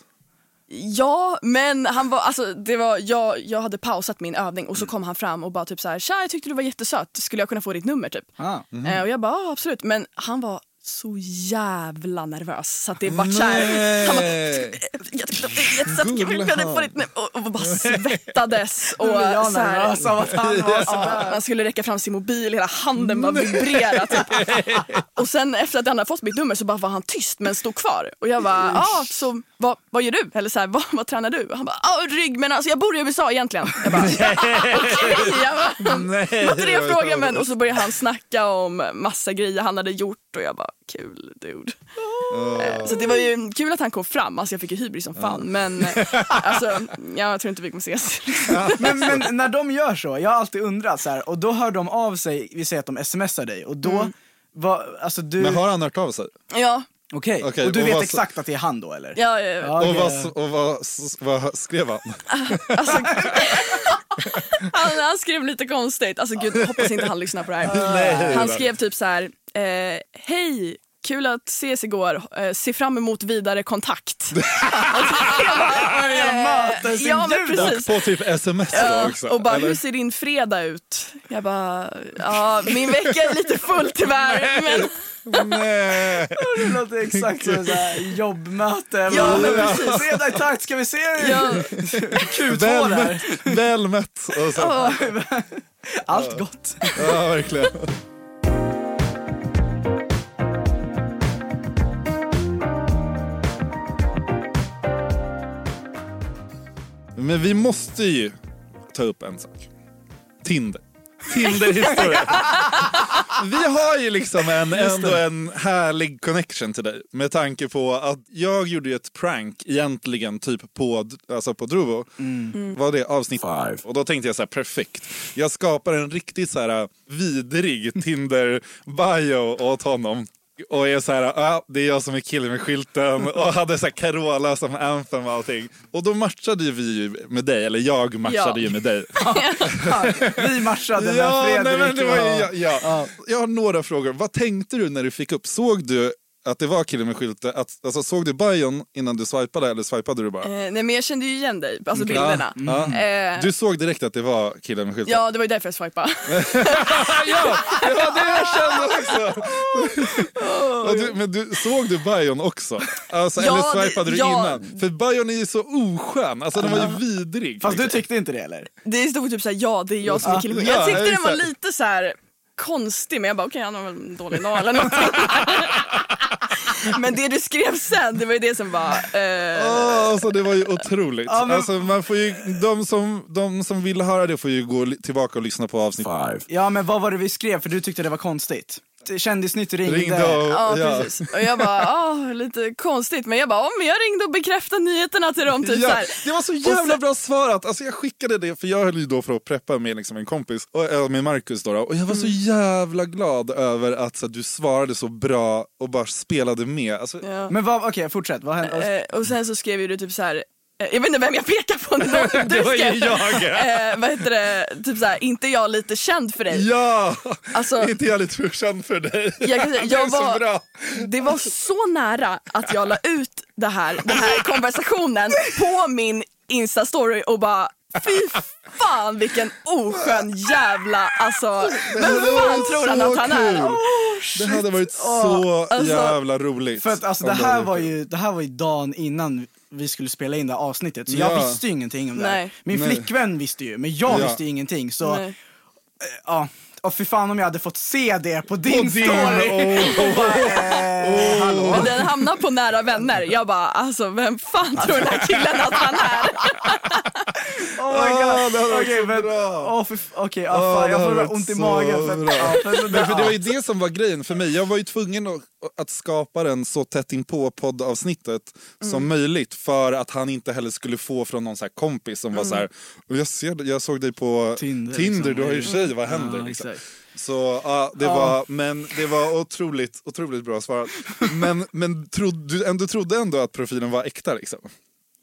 Ja, men han var, alltså, det var, jag, jag hade pausat min övning och så kom han fram och bara typ så här, tja jag tyckte du var jättesöt, skulle jag kunna få ditt nummer typ?
Ah.
Eh, och jag bara, ja absolut, men han var så jävla nervös så att det vart såhär, han bara, jag tyckte att det är jättesött, kan vi- kan jag få ditt nummer? Och, och bara svettades och
Nu blir jag
så här,
nervös av att han har
Ja, han skulle räcka fram sin mobil, hela handen bara vibrerade. Typ. Och sen efter att han hade fått mitt nummer så bara var han tyst men stod kvar. Och jag bara, ah, så vad, vad gör du? Eller så här, vad, vad tränar du? Och han bara, ah, rygg men alltså jag bor i USA egentligen. Jag bara, okej. Jag bara,
Nej,
det var inte det jag
det var
frågade men. Och så började han snacka om massa grejer han hade gjort och jag bara, kul dude. Eh, Så det var ju kul att han kom fram, alltså jag fick ju hybris som fan men eh, alltså, ja, jag tror inte vi kommer ses.
men, men
Mm.
när de gör så, jag har alltid undrat så här, och då hör de av sig, vi säger att de smsar dig och då Vad, alltså du...
Men
Okej,
har han hört av sig?
Ja,
Okej,
och du
och
vet
vad-
exakt att det är han då eller?
ja, ja, ja.
okej.
Och, vad, och vad, s- vad skrev han?
Han, han skrev lite konstigt. Alltså gud, jag hoppas inte han lyssnar på det här. han skrev typ så här. Eh, Hej, kul att ses igår. Eh, se fram emot vidare kontakt. Och så- jag bara, eh, ja, men
Och
precis.
på typ sms då
Ja,
också?
och bara,
eller?
hur ser din fredag ut? Jag bara, ja min vecka är lite full tyvärr. Men,
Nej.
Det låter exakt som ett så här jobbmöte.
Ja, men
precis. Fredag i takt, ska vi se
ja,
Väl
där.
mött, väl mött. Och så,
åh.
Allt gott.
ja, verkligen. Men vi måste ju ta upp en sak. Tinder. Tinder-historia. Vi har ju liksom en, ändå en härlig connection till dig med tanke på att jag gjorde ju ett prank egentligen typ på, alltså på Druvo. Var det avsnitt Five. Och då tänkte jag så här perfekt. Jag skapar en riktigt så här äh, vidrig Tinder-bio åt honom. Och är så här, ah, det är jag som är killen med skylten och hade så här Carola som anthem och allting. Och då matchade ju vi ju med dig, eller jag matchade
Ja.
ju med dig.
Vi matchade när
Ja,
Fredrik
nej, men det var,
var-
ja, ja. Jag har några frågor. Vad tänkte du när du fick upp? Såg du att det var killen med skylten? Att, alltså, såg du bion innan du swipade eller swipade du bara?
Eh, nej men jag kände ju igen dig, alltså
Ja,
bilderna.
Mm. ja.
Eh,
Du såg direkt att det var killen med skylten?
ja det var ju därför jag swipade.
ja, det var det jag kände också! Och du, men du, såg du bion också? Alltså,
Ja,
eller swipade
det-
du
ja.
innan? För bion är ju så oskön, alltså den var ju vidrig.
Fast du tyckte inte det eller?
Det stod typ såhär, ja det är jag som är killen.
Ja,
jag tyckte den var
exakt.
lite så här konstig men jag bara okej han har väl en dålig dag eller någonting. men det du skrev sen det var ju det som var eh,
Ja, alltså det var ju otroligt.
Ja, men-
alltså, man får ju, de, som, de som vill höra det får ju gå li- tillbaka och lyssna på avsnitt.
Ja men vad var det vi skrev för du tyckte det var konstigt? Kändisnytt ringde.
Ringde och,
Ja, precis. Och jag bara, ah, lite konstigt. Men jag bara, oh, men jag ringde och bekräftade nyheterna till dem. Typ, så
Ja,
här.
det var så
Och
jävla
sen-
bra svarat! Alltså jag skickade det, för jag höll ju då för att preppa med liksom en kompis, och, äh, med Markus då, då, och jag var
Mm.
så jävla glad över att så, här, du svarade så bra och bara spelade med. Alltså,
Ja.
Men vad, okej fortsätt, vad hände?
Eh, och sen så skrev ju du typ så här, eh, jag vet inte vem jag pekar på. men det var- Du skrev, eh, vad heter det, typ så här, inte jag lite känd för dig.
Ja!
Alltså,
Inte jag lite för känd för dig?
Jag kan säga,
det är
jag
så
var-
bra!
Det var så nära att jag la ut det här, den här konversationen på min Insta-story och bara fy fan vilken oskön jävla alltså. Vem fan tror han
Så
att han är?
kul. Det hade varit så
alltså-
jävla roligt.
För att alltså
om
det
du
här
hade
var
gjort
ju, det här var ju dagen innan vi skulle spela in det här avsnittet så jag
Ja.
visste ju ingenting om det här.
Nej.
Min
Nej.
flickvän visste ju men jag
Ja.
visste ju ingenting så
Nej.
ja. Och för fan om jag hade fått se det på din
På din,
story! eh,
åh,
Men den hamnar på nära vänner. Jag bara alltså vem fan tror den här killen att han är?
Oh my god!
Ah, det hade varit
Okej,
så
men-
bra.
åh, för f- Okej, ja, fan,
Ah, det
jag
hade
får
varit
ont i
så
magen. För,
bra.
ja, för,
Nej, för det var ju det som var grejen för mig. Jag var ju tvungen att, att skapa den så tätt in på poddavsnittet
Mm.
som möjligt för att han inte heller skulle få från någon så här kompis som var så här, "Och jag, ser, jag såg dig på
Mm. Tinder,
Tinder,
liksom.
du har ju tjej, vad händer?
Ja,
liksom.
exakt.
Så ja, det var, men det var otroligt, otroligt bra svarat. Men, men trodde, du ändå trodde ändå att profilen var äkta liksom?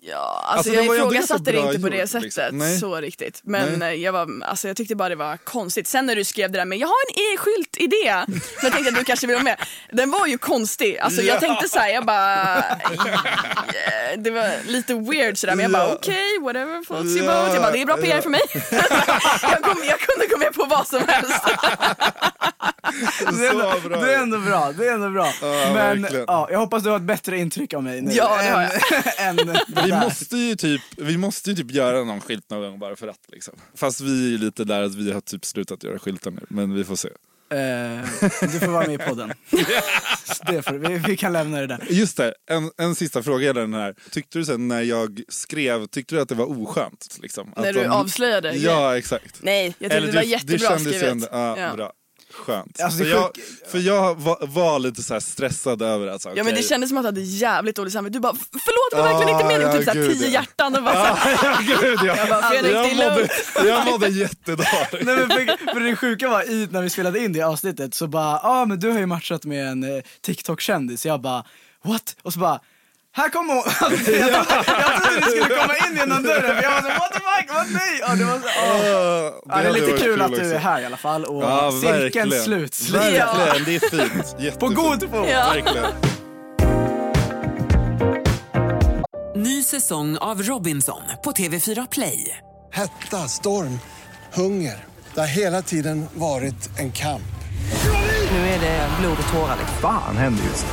Ja,
Alltså,
alltså,
det
jag
var ju ändå
ifrågasatte
ganska
det
bra
inte på det
gjort,
sättet
liksom. Nej.
så riktigt. Men eh, jag, var, alltså, jag tyckte bara det var konstigt. Sen när du skrev det där med jag har en e-skylt idé så jag tänkte att du kanske vill vara med. Den var ju konstig. Alltså, jag tänkte så här, jag bara... eh, Det var lite weird sådär men jag bara
Ja.
okej, whatever floats your
Ja.
boat. Jag bara det är bra PR
Ja.
för mig. jag, kom, jag kunde gå med på vad som helst.
det, är
Så
ändå,
bra.
det är ändå bra, det är ändå bra. men
verkligen.
ja, jag hoppas du har ett bättre intryck av mig nu.
Ja, det har
än, än det
Vi
där.
måste, ju typ, vi måste ju typ göra någon skylt någon gång bara för att. Liksom. Fast vi är ju lite där att vi har typ slutat göra skyltar nu, men vi får se.
Eh, du får vara med i podden. det får, vi, vi kan lämna det där.
Just det, en, en sista fråga gäller den här. Tyckte du sen när jag skrev, tyckte du att det var oskönt? Liksom?
När
att
du avslöjade?
Ja, exakt.
Nej, jag tyckte det var
du-
jättebra
det kändes ju
skrivet.
Ändå, ja,
Ja.
Bra. Skönt.
Alltså, det
för,
är
jag,
sjuk-
för jag var, var lite så här stressad över att... så,
Ja men det
okej.
kändes som att du hade jävligt dåligt samvete. Du bara, förlåt det var verkligen inte
Ah,
meningen.
ja,
Typ såhär
gud,
tio
ja.
hjärtan och bara såhär.
Ja, gud, ja.
bara, Fredrik, det
jag,
är
mådde,
lugnt.
jag mådde jättedåligt.
Nej, men för, för det sjuka var i, när vi spelade in det avsnittet så bara, ja ah, men du har ju matchat med en eh, TikTok-kändis. Jag bara, what? Och så bara, här kommer hon! Alltså, jag, trodde, jag trodde vi skulle komma in genom dörren för jag var så, what the fuck, vad nej! Ja, det, var så, ah. ja, det
hade
är lite
varit
kul att du
också.
är här i alla fall och
Ja,
cirkeln
verkligen.
sluts.
Verkligen, det är fint. Jättefint.
På god fot!
Ja.
Verkligen.
Ny säsong av Robinson på TV4 Play.
Hetta, storm, hunger. Det har hela tiden varit en kamp.
Nu är det blod och tårar.
Fan händer just det.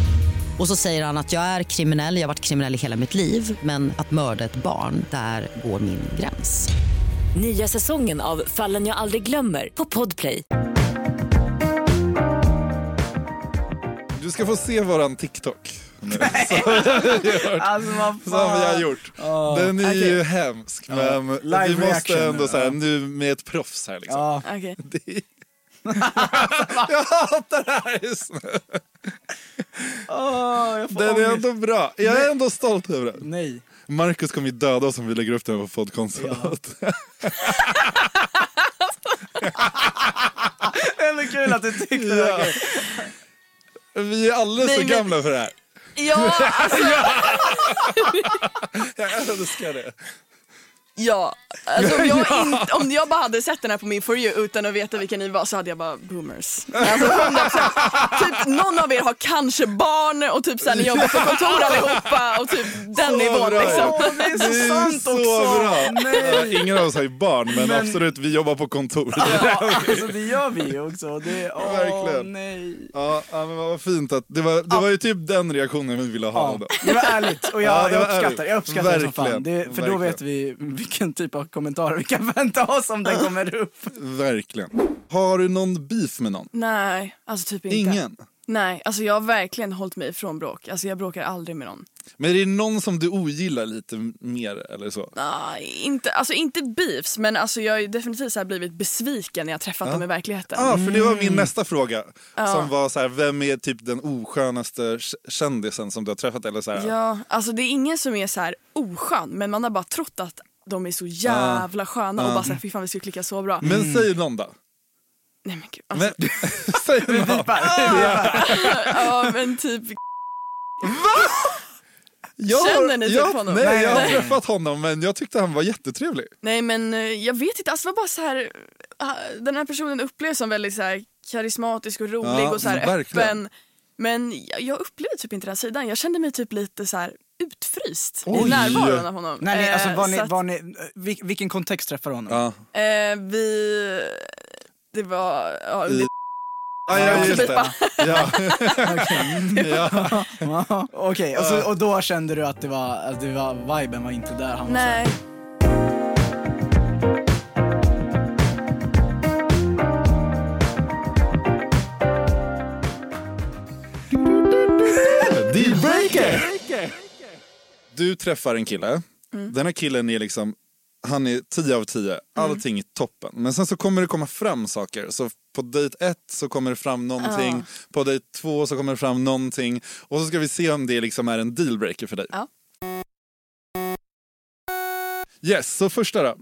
Och så säger han att jag är kriminell, jag har varit kriminell i hela mitt liv men att mörda ett barn, där går min gräns. Nya säsongen av Fallen jag aldrig glömmer på Podplay.
Du ska få se våran TikTok. nu.
Alltså vad
Som vi har
fan.
gjort. Den är
okej.
ju hemsk men
Live
vi
reaction.
måste ändå så här,
Ja.
nu med ett proffs här liksom.
Ja.
Okej.
Det är... jag hatar det här just nu.
Åh, jag får
Den är
ångest.
ändå bra. Jag är ändå stolt över den.
Nej.
Marcus kommer ju döda oss om vi lägger upp den på poddkontot.
Det är ändå kul att du tyckte det var
Ja.
kul.
Vi är alldeles
Nej,
för
men-
gamla för det här.
Ja, alltså,
Jag älskar det.
ja. Alltså, om, jag inte, om jag bara hade sett den här på min For You utan att veta vilka ni var så hade jag bara boomers. Alltså, 100%. typ någon av er har kanske barn och typ såhär ni jobbar på kontor allihopa och typ den
Så
nivån
bra.
liksom.
Åh, det är
Det
så
är
sant
så
också!
bra.
Nej!
Ingen av oss har ju barn men,
Men-
absolut, vi jobbar på kontor.
Ja, alltså det gör vi ju också. Det är, åh
Verkligen.
nej.
Ja, ja, men vad fint att det var, det var ju typ den reaktionen vi ville ha.
Ja,
Då.
det var ärligt och jag,
Ja, det
jag
var
uppskattar,
ärligt.
jag uppskattar det som fan.
Verkligen,
Det, för då
verkligen.
vet vi vilken typ av kommentarer vi kan vänta oss om den kommer upp.
Verkligen. Har du någon beef med någon?
Nej, alltså typ inte.
Ingen.
Nej, alltså jag har verkligen hållit mig ifrån bråk. Alltså jag bråkar aldrig med någon.
Men är det någon som du ogillar lite mer eller så?
Nej, inte, alltså inte beefs men alltså jag har ju definitivt så här blivit besviken när jag träffat dem i verkligheten.
Ja, ah, för det var
Mm.
min nästa fråga. Som var så här, vem är typ den oskönaste k- kändisen som du har träffat? Eller så här,
Ja, alltså det är ingen som är så här oskön men man har bara trott att de är så jävla sköna och bara såhär, fy fan vi skulle klicka så bra. Mm.
Men
Mm.
säg någon då.
Alltså,
Nej men gud, alltså,
Men, säg någon.
Ah! ja men typ
Jag,
Känner ni typ
jag,
honom?
Nej,
Nej,
jag har
nej.
träffat honom men jag tyckte han var jättetrevlig.
Nej men eh, jag vet inte, alltså det var bara så här ah, den här personen upplevs som väldigt så här karismatisk och rolig
Ja,
och så här
verkligen.
öppen. Men jag, jag upplevde typ inte den här sidan, jag kände mig typ lite så här utfryst
Oj.
i närvaron av honom.
Nej, nej, alltså
Eh,
var
så
ni,
att,
var ni, vil, vilken kontext träffar honom?
Ja.
eh, vi, det var, ja,
I-
det,
Ah, ja, just det. Ja. ja.
Ja, Okej, och, så- och då kände du att det var, att det var viben var inte där. Han var
nej.
Dealbreaker! Du träffar en kille.
Mm.
Den här killen är liksom, han är 10 av 10. Allting är toppen. Men sen så kommer det komma fram saker. Så på dejt ett så kommer det fram någonting.
Ah.
På dejt två så kommer det fram någonting. Och så ska vi se om det liksom är en dealbreaker för dig.
Ja.
Yes, så första då.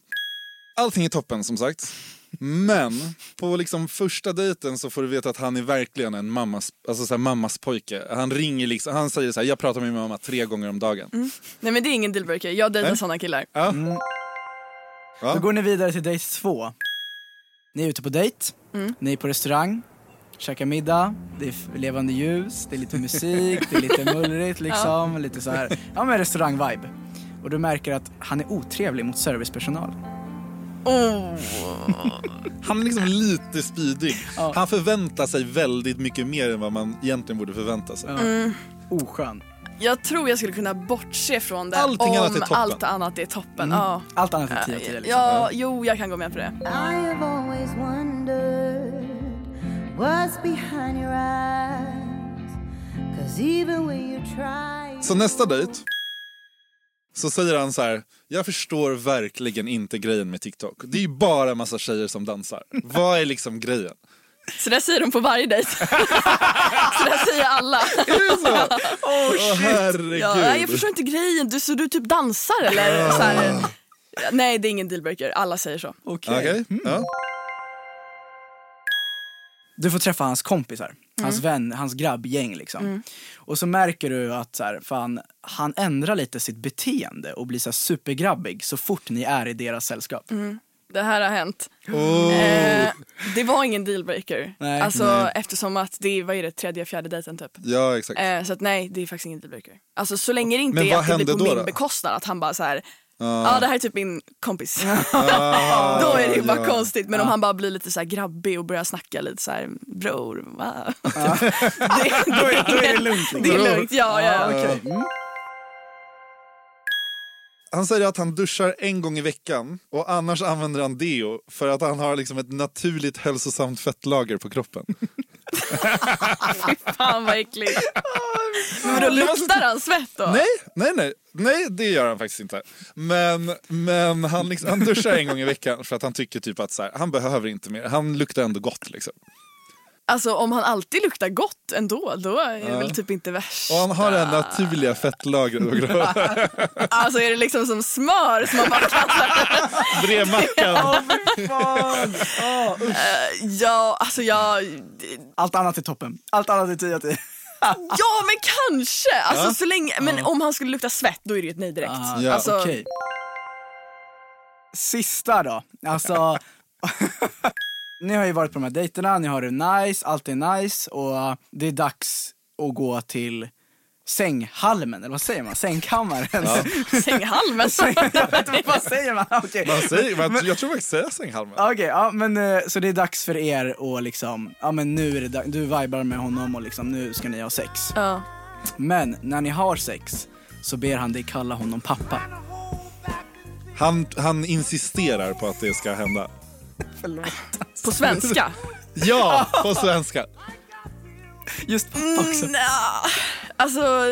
Allting är toppen som sagt. Men på liksom första dejten så får du veta att han är verkligen en mammas, alltså så här, mammas pojke. Han ringer liksom, han säger så här, jag pratar med min mamma tre gånger om dagen.
Mm. Nej men det är ingen dealbreaker, jag dejtar
Nej.
såna killar.
Ja.
Mm. så. Då går ni vidare till dejt två. Ni är ute på dejt,
Mm.
ni är på restaurang, käkar middag, det är f- levande ljus, det är lite musik, det är lite mullrigt liksom. Lite så här, ja men restaurang-vibe. Och du märker att han är otrevlig mot servicepersonal.
Oh.
Han är liksom lite spydig. Han förväntar sig väldigt mycket mer än vad man egentligen borde förvänta sig.
Mm.
Oskön.
Jag tror jag skulle kunna bortse från det
Allting
om
annat är toppen.
allt annat är toppen.
Mm.
Ja.
Allt annat är 10 av 10.
Ja,
Liksom.
jo, jag kan gå med på det.
I have always wondered what's behind your eyes. Cause even when you try,
Så nästa dejt så säger han så här, jag förstår verkligen inte grejen med TikTok. Det är ju bara en massa tjejer som dansar. Vad är liksom grejen?
Så det säger de på varje dejt. så det säger alla.
Är det så?
Oh,
Åh, herregud.
Ja, nej, jag förstår inte grejen. Du, så du typ dansar eller? Så här. Nej, det är ingen dealbreaker. Alla säger så.
Okej.
Mm.
Du får träffa hans kompisar, hans vän, hans grabbgäng liksom.
Mm.
Och så märker du att så här, fan, han ändrar lite sitt beteende och blir så här, supergrabbig så fort ni är i deras sällskap.
Mm. Det här har hänt.
Oh.
Eh, det var ingen dealbreaker.
Nej.
Alltså,
Nej.
Eftersom att det är, vad är det, tredje, fjärde dejten typ.
Ja, exakt.
Eh, så att nej, det är faktiskt ingen dealbreaker. Alltså så länge det inte
Men
är
vad
att det blir
hände
på
då
min
då?
bekostnad. Att han bara så här, ja
Ja.
det här är typ min kompis.
Ah,
då är det ju bara
ja. Ah.
konstigt. Men om
Ja.
han bara blir lite så här grabbig och börjar snacka lite så här, bror, va?
Ah.
Typ.
då, är, då är det lugnt.
liksom.
Det är lugnt, ja, ja.
Ja, okej. Han säger att han duschar en gång i veckan och annars använder han deo för att han har liksom ett naturligt hälsosamt fettlager på kroppen.
Fan vad äckligt.
Ah,
Men då luktar han svett då?
alltså, Nej, nej, nej, nej, det gör han faktiskt inte. Men, men han, liksom, han duschar en gång i veckan för att han tycker typ att så här, han behöver inte mer. Han luktar ändå gott liksom.
Alltså om han alltid luktar gott ändå, då är det
Ja.
väl typ inte värst.
Ah. Och han har det här naturliga fettlagret på kroppen.
Alltså är det liksom som smör som man bara kan...
Brevmackan.
Fan. Ja, usch.
Eh, ja, alltså jag...
Allt annat är toppen. Allt annat är 10 av 10.
Ja men kanske! Alltså
Ja.
så länge... Men
Ja.
om han skulle lukta svett då är det ju ett nej direkt.
Ah, ja,
alltså,
okej. Sista då. Alltså, ni har ju varit på de här dejterna, ni har det nice, allt är nice och det är dags att gå till sänghalmen, eller vad säger man? Sängkammaren?
Ja.
Sänghalmen?
jag vet inte, vad säger man? Okej.
Man säger, man,
Men-
jag tror faktiskt säger sänghalmen.
Okej, ja men eh, så det är dags för er och liksom, ja men nu är det dags, du vibar med honom och liksom nu ska ni ha sex.
Ja.
Men när ni har sex så ber han dig kalla honom pappa.
Han, han insisterar på att det ska hända.
På svenska?
Ja, på svenska.
Just
pappa också. Mm, nja. alltså,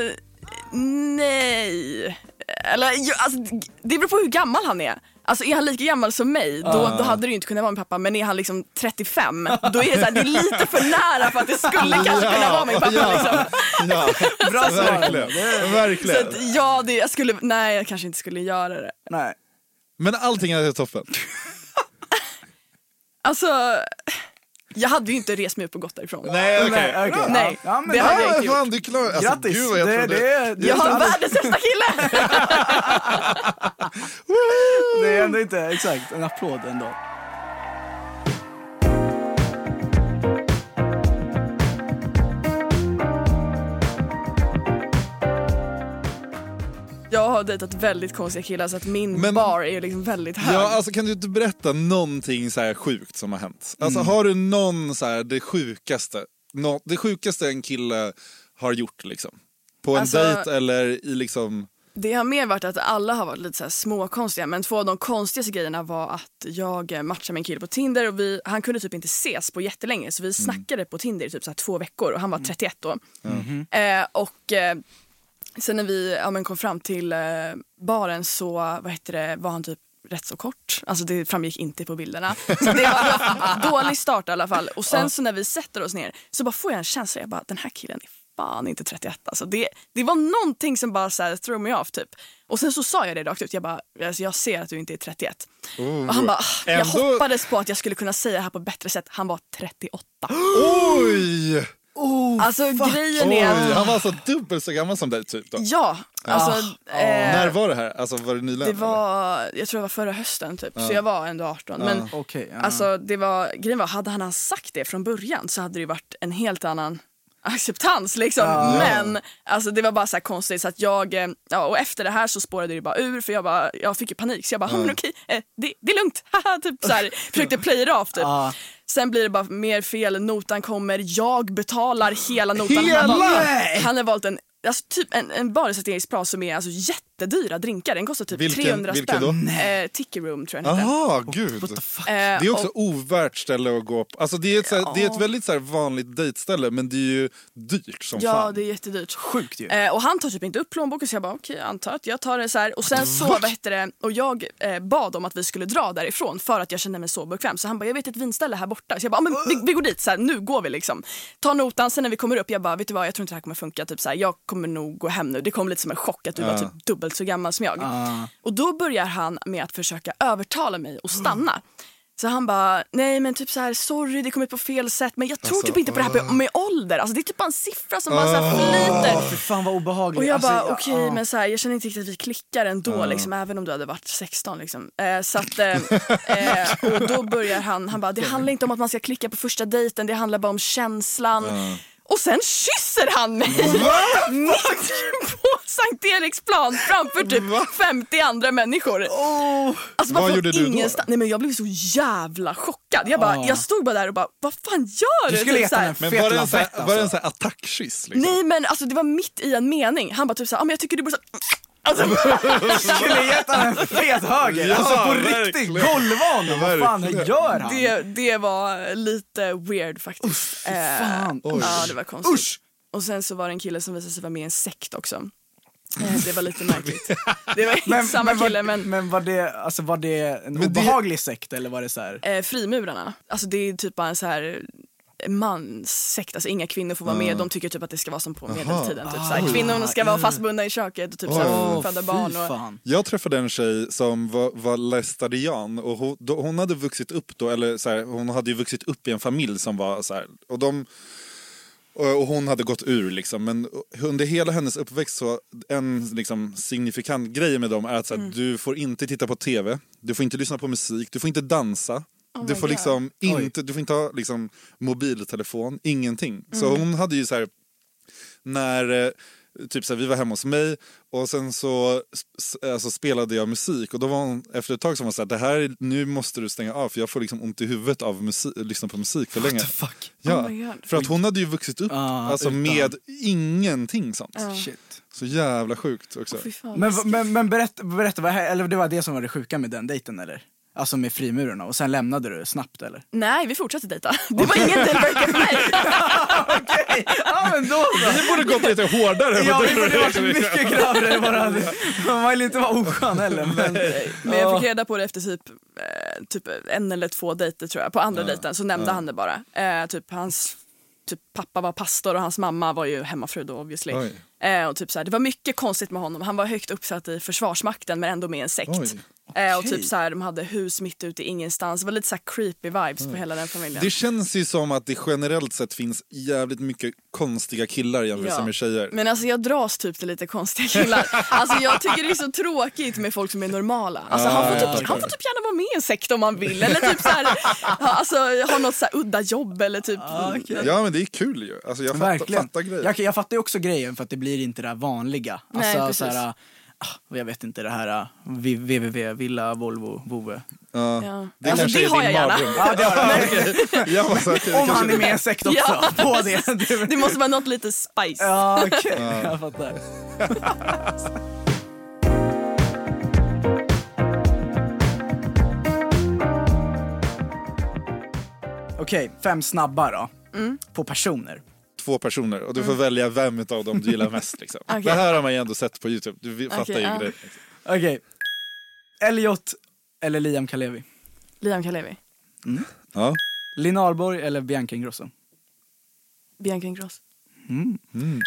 nej. Eller, ju, alltså, det beror på hur gammal han är. Alltså är han lika gammal som mig, då,
Ah.
då hade det ju inte kunnat vara min pappa. Men är han liksom 35, då är det, så här, det är lite för nära för att det skulle kanske kunna vara min pappa.
ja,
Liksom.
Ja,
Bra svar.
verkligen.
Så
verkligen.
att, ja, det, jag skulle, nej jag kanske inte skulle göra det.
Nej.
Men allting är toppen.
Alltså, jag hade ju inte rest mig upp och gått därifrån.
Nej, okej.
Nej, okej.
Nej,
Ja, men
det hade jag
Ja,
inte gjort.
fan, du klarar alltså,
Grattis.
Gud vad jag
Det-
trodde.
det är- det är
Jag har
inte alls-
världens bästa kille!
Det är ändå inte, exakt, en applåd ändå.
Jag har dejtat väldigt konstiga killar så att min
Men-
bar är ju liksom väldigt hög.
Ja, alltså kan du inte berätta någonting så här sjukt som har hänt? Alltså
Mm.
har du någon så här det sjukaste, nå, det sjukaste en kille har gjort liksom? På en
Alltså-
dejt eller i liksom...
Det har mer varit att alla har varit lite så här småkonstiga men två av de konstigaste grejerna var att jag eh, matchade med en kille på Tinder och vi, han kunde typ inte ses på jättelänge
Mm.
så vi snackade på Tinder i typ så här två veckor och han var 31 då.
Mm.
Eh, och eh, sen när vi ja, men kom fram till eh, baren så vad heter det, var han typ rätt så kort. Alltså det framgick inte på bilderna. Så det var dålig start i alla fall. Och sen så när vi sätter oss ner så bara får jag en känsla, jag bara den här killen är fan inte 31 alltså. Det, det var någonting som bara så här, threw me off typ. Och sen så sa jag det rakt ut, jag bara alltså, jag ser att du inte är 31. Och han bara, "Ah, jag
Mm. Ändå-
hoppades på att jag skulle kunna säga det här på ett bättre sätt. Han var 38.
Oj!
alltså grejen
Oh, Oj!
är att
Han var alltså dubbelt så gammal som dig typ då?
Ja, alltså,
Ah.
eh,
När var det här? Alltså var det nyligen?
Det var, jag tror det var förra hösten typ,
Ja.
så jag var ändå 18.
Ja.
Men
Okej, ja.
alltså, det var, grejen var, hade han sagt det från början så hade det ju varit en helt annan acceptans liksom.
Ja.
Men alltså, det var bara så här konstigt så att jag, eh, ja, och efter det här så spårade det bara ur för jag, bara, jag fick ju panik så jag bara,
Ja.
ja. men okej, eh, det, det är lugnt, haha, typ så här, försökte play it off typ.
Ja.
Sen blir det bara mer fel, notan kommer, jag betalar hela notan.
Hela?
Han, har
Nej!
valt, han har valt en, alltså, typ en, en bareserveringspras som är alltså, jättedyra drinkar, den kostar typ
Vilken-
300
vilken då?
spänn. Eh, Tiki Room tror jag den Eh, heter.
Jaha, gud. Det är också ovärt ställe att gå på. Alltså det, är ett, så här, det är ett väldigt så här, vanligt dejtställe men det är ju dyrt som
ja,
fan.
det är jättedyrt.
Sjukt ju.
Eh, och han tar typ inte upp plånboken så jag bara okej, jag antar att jag tar det så här. Och sen så, vad heter det, och jag eh, bad om att vi skulle dra därifrån för att jag kände mig så bekväm. Så han bara, jag vet ett vinställe här borta. Så jag bara, ah, men vi, vi går dit, så här, nu går vi liksom. Ta notan, sen när vi kommer upp, jag bara, vet du vad, jag tror inte det här kommer funka. Typ så här, jag kommer nog gå hem nu. Det kom lite som en chock att du
Ja.
var typ dubbelt så gammal som jag.
Ah.
Och då börjar han med att försöka övertala mig att stanna. Så han bara, nej men typ så här, sorry det kom ut på fel sätt men jag tror
Alltså,
typ inte på det här
ah.
med, med ålder. Alltså det är typ bara en siffra som bara så här flyter.
Fy fan vad obehagligt.
Och jag
Alltså,
bara,
ja,
okej
ja.
men så här, jag känner inte riktigt att vi klickar ändå
Ja.
liksom, även om du hade varit 16 liksom. Eh, så att, eh, eh, och då börjar han, han bara, det handlar inte om att man ska klicka på första dejten, det handlar bara om känslan. Och sen kysser han mig mitt på Sankt Eriksplan framför typ 50 andra människor. Alltså, man
Vad
får
gjorde du då?
ingenstans- Nej, men jag blev så jävla chockad. Jag, bara,
Ja.
jag stod bara där och bara, vad fan gör du? Typ så här-
Men var det en sån här, var det en
alltså.
sån här attackkyss? Liksom?
Nej men alltså det var mitt i en mening. Han bara typ såhär, ah, men jag tycker du borde så... Alltså,
Skulle gett han en fet höger.
Ja,
alltså på
verkligen.
riktigt, golva honom. Vad fan
Verkligen.
gör han?
Det, det var lite weird faktiskt. Usch,
fan. Oj.
Ja det var konstigt.
Usch.
Och sen så var det en kille som visade sig vara med i en sekt också. Eh, Det var lite märkligt. Det var inte samma
var,
kille men
Men var det, alltså, var det en obehaglig sekt eller var det så här?
eh, frimurarna, alltså det är typ bara en så här manssekt, alltså inga kvinnor får vara
Ah.
med. De tycker typ att det ska vara som på
Aha.
medeltiden. Typ,
Ah,
såhär. Kvinnorna ska vara
ja.
fastbundna i köket och typ såhär,
Åh,
föda
fy
barn. Och,
fan.
Jag träffade en tjej som var, var lästadian och hon, då, hon hade vuxit upp då, eller så här, hon hade ju vuxit upp i en familj som var så här, och de och och hon hade gått ur liksom, men under hela hennes uppväxt så en liksom, signifikant grej med dem är att så här,
Mm.
du får inte titta på tv, du får inte lyssna på musik, du får inte dansa,
Oh
du,
my
får
God.
liksom
Oj.
inte, du får inte ha liksom, mobiltelefon, ingenting. Så
Mm.
hon hade ju så här, när eh, typ så här, vi var hemma hos mig och sen så s- s- alltså, spelade jag musik och då var hon efter ett tag som var så här, det här är- nu måste du stänga av för jag får liksom ont i huvudet av musik, lyssna på musik för länge. Ja,
Oh my God.
för att hon hade ju vuxit upp alltså,
utan.
med ingenting sånt.
Ja. Shit.
Så jävla sjukt också.
Men, men, men berätta, berätta vad, eller det var det som var det sjuka med den dejten eller? Alltså med frimurarna och sen lämnade du snabbt eller?
Nej, vi fortsatte dejta. Det var ingen dealbreaker för mig.
Ja men då
Vi borde gått lite hårdare.
Ja vi borde varit mycket grövre än vad det hade- Man var ju lite var oskön heller men...
Men jag
Ja.
fick reda på det efter typ, eh, typ en eller två dejter tror jag. På andra
Ja.
dejten så nämnde
Ja.
han det bara. Eh, typ hans typ pappa var pastor och hans mamma var ju hemmafru då obviously. Eh, och typ så här, det var mycket konstigt med honom. Han var högt uppsatt i försvarsmakten men ändå med i en sekt.
Oj.
Eh, och
Okej.
typ så här, de hade hus mitt ute i ingenstans. Det var lite så här creepy vibes på hela den familjen.
Det känns ju som att det generellt sett finns jävligt mycket konstiga killar jämfört
Ja.
med tjejer.
Men alltså jag dras typ till lite konstiga killar. Alltså jag tycker det är så tråkigt med folk som är normala. Alltså han,
Ah,
får
ja,
typ,
ja,
han får typ gärna vara med i en sekt om han vill. Eller typ så här, ha, alltså, ha något så här udda jobb eller typ.
Ja men det är kul ju. Alltså, jag fattar,
Verkligen.
fattar grejer.
Jag, jag fattar ju också grejen för att det blir inte det där vanliga.
Nej,
Alltså,
precis.
så här, ah, jag vet inte det här ah, vi- www, villa, Volvo, boe.
Ja. Det Alltså, kanske det är har din jag gärna. mardröm.
Ja, det har jag.
Jag var så här,
Om
kanske-
han är med i en sekt också.
Ja.
På det.
Det måste vara något lite spice.
Ja, okej.
Ja.
Jag fattar. Okej, fem snabba då. På personer.
Två personer och du får välja vem av dem du gillar mest. Liksom.
Okej.
Det här har man ju ändå sett på Youtube. Du vi- fattar
Okej,
ju
ja.
grejen. liksom.
Okej. Elliot eller Liam Kalevi?
Liam Kalevi,
Ja.
Linn Ahlborg eller Bianca Ingrosso?
Bianca Ingrosso,
Mm.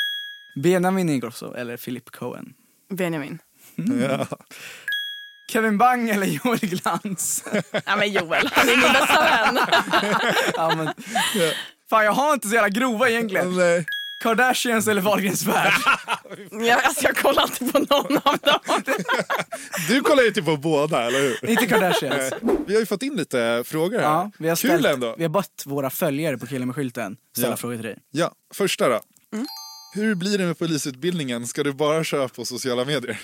Benjamin Ingrosso eller Philip Cohen?
Benjamin.
Ja.
Kevin Bang eller Joel Glans?
Ja men Joel, han är min bästa vän.
ja, men, fan jag har inte så jävla grova egentligen. Kardashians eller Wahlgrens värld?
ja, alltså, jag kollar inte på någon av dem.
Du kollar ju typ på båda, eller hur?
Inte Kardashians.
Nej. Vi har ju fått in lite frågor här.
Ja, vi har
Kul
ställt,
ändå.
Vi har bett våra följare på Killen med skylten ställa
Ja.
frågor till dig.
Ja, första då.
Mm.
Hur blir det med polisutbildningen? Ska du bara köra på sociala medier?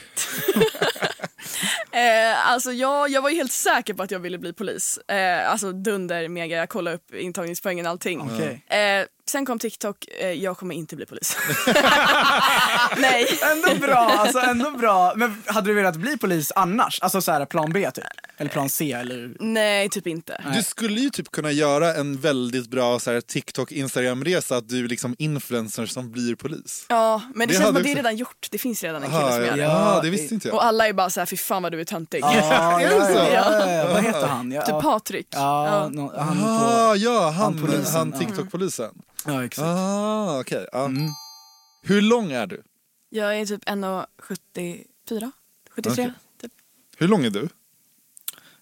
Eh, alltså jag, jag var ju helt säker på att jag ville bli polis. Eh, alltså dunder, mega, jag kollade upp intagningspoängen och allting.
Okej.
Eh, sen kom TikTok, eh, jag kommer inte bli polis. Nej.
Ändå bra, alltså ändå bra. Men hade du velat bli polis annars? Alltså så här plan B typ? Eller plan C eller?
Nej, typ inte.
Du skulle ju typ kunna göra en väldigt bra så här, TikTok-Instagram-resa att du är liksom influencer som blir polis.
Ja, men det,
Det
känns som
hade
att det är
också-
redan gjort. Det finns redan en
Aha,
kille som
ja.
gör det.
Ja, det visste inte jag.
Och alla är bara så här, fy fan vad du är töntig.
Ja,
Är det så?
ja, ja, ja. Vad heter han? Ja,
Typ Patrik.
Ja, nå- han på...
ah, ja,
han
han, han,
polisen. Ja.
TikTok-polisen.
Ja, exakt.
Ah, okej. ja. Hur lång är du?
Jag är typ 1,74, 73.
Okej.
typ.
Hur lång är du?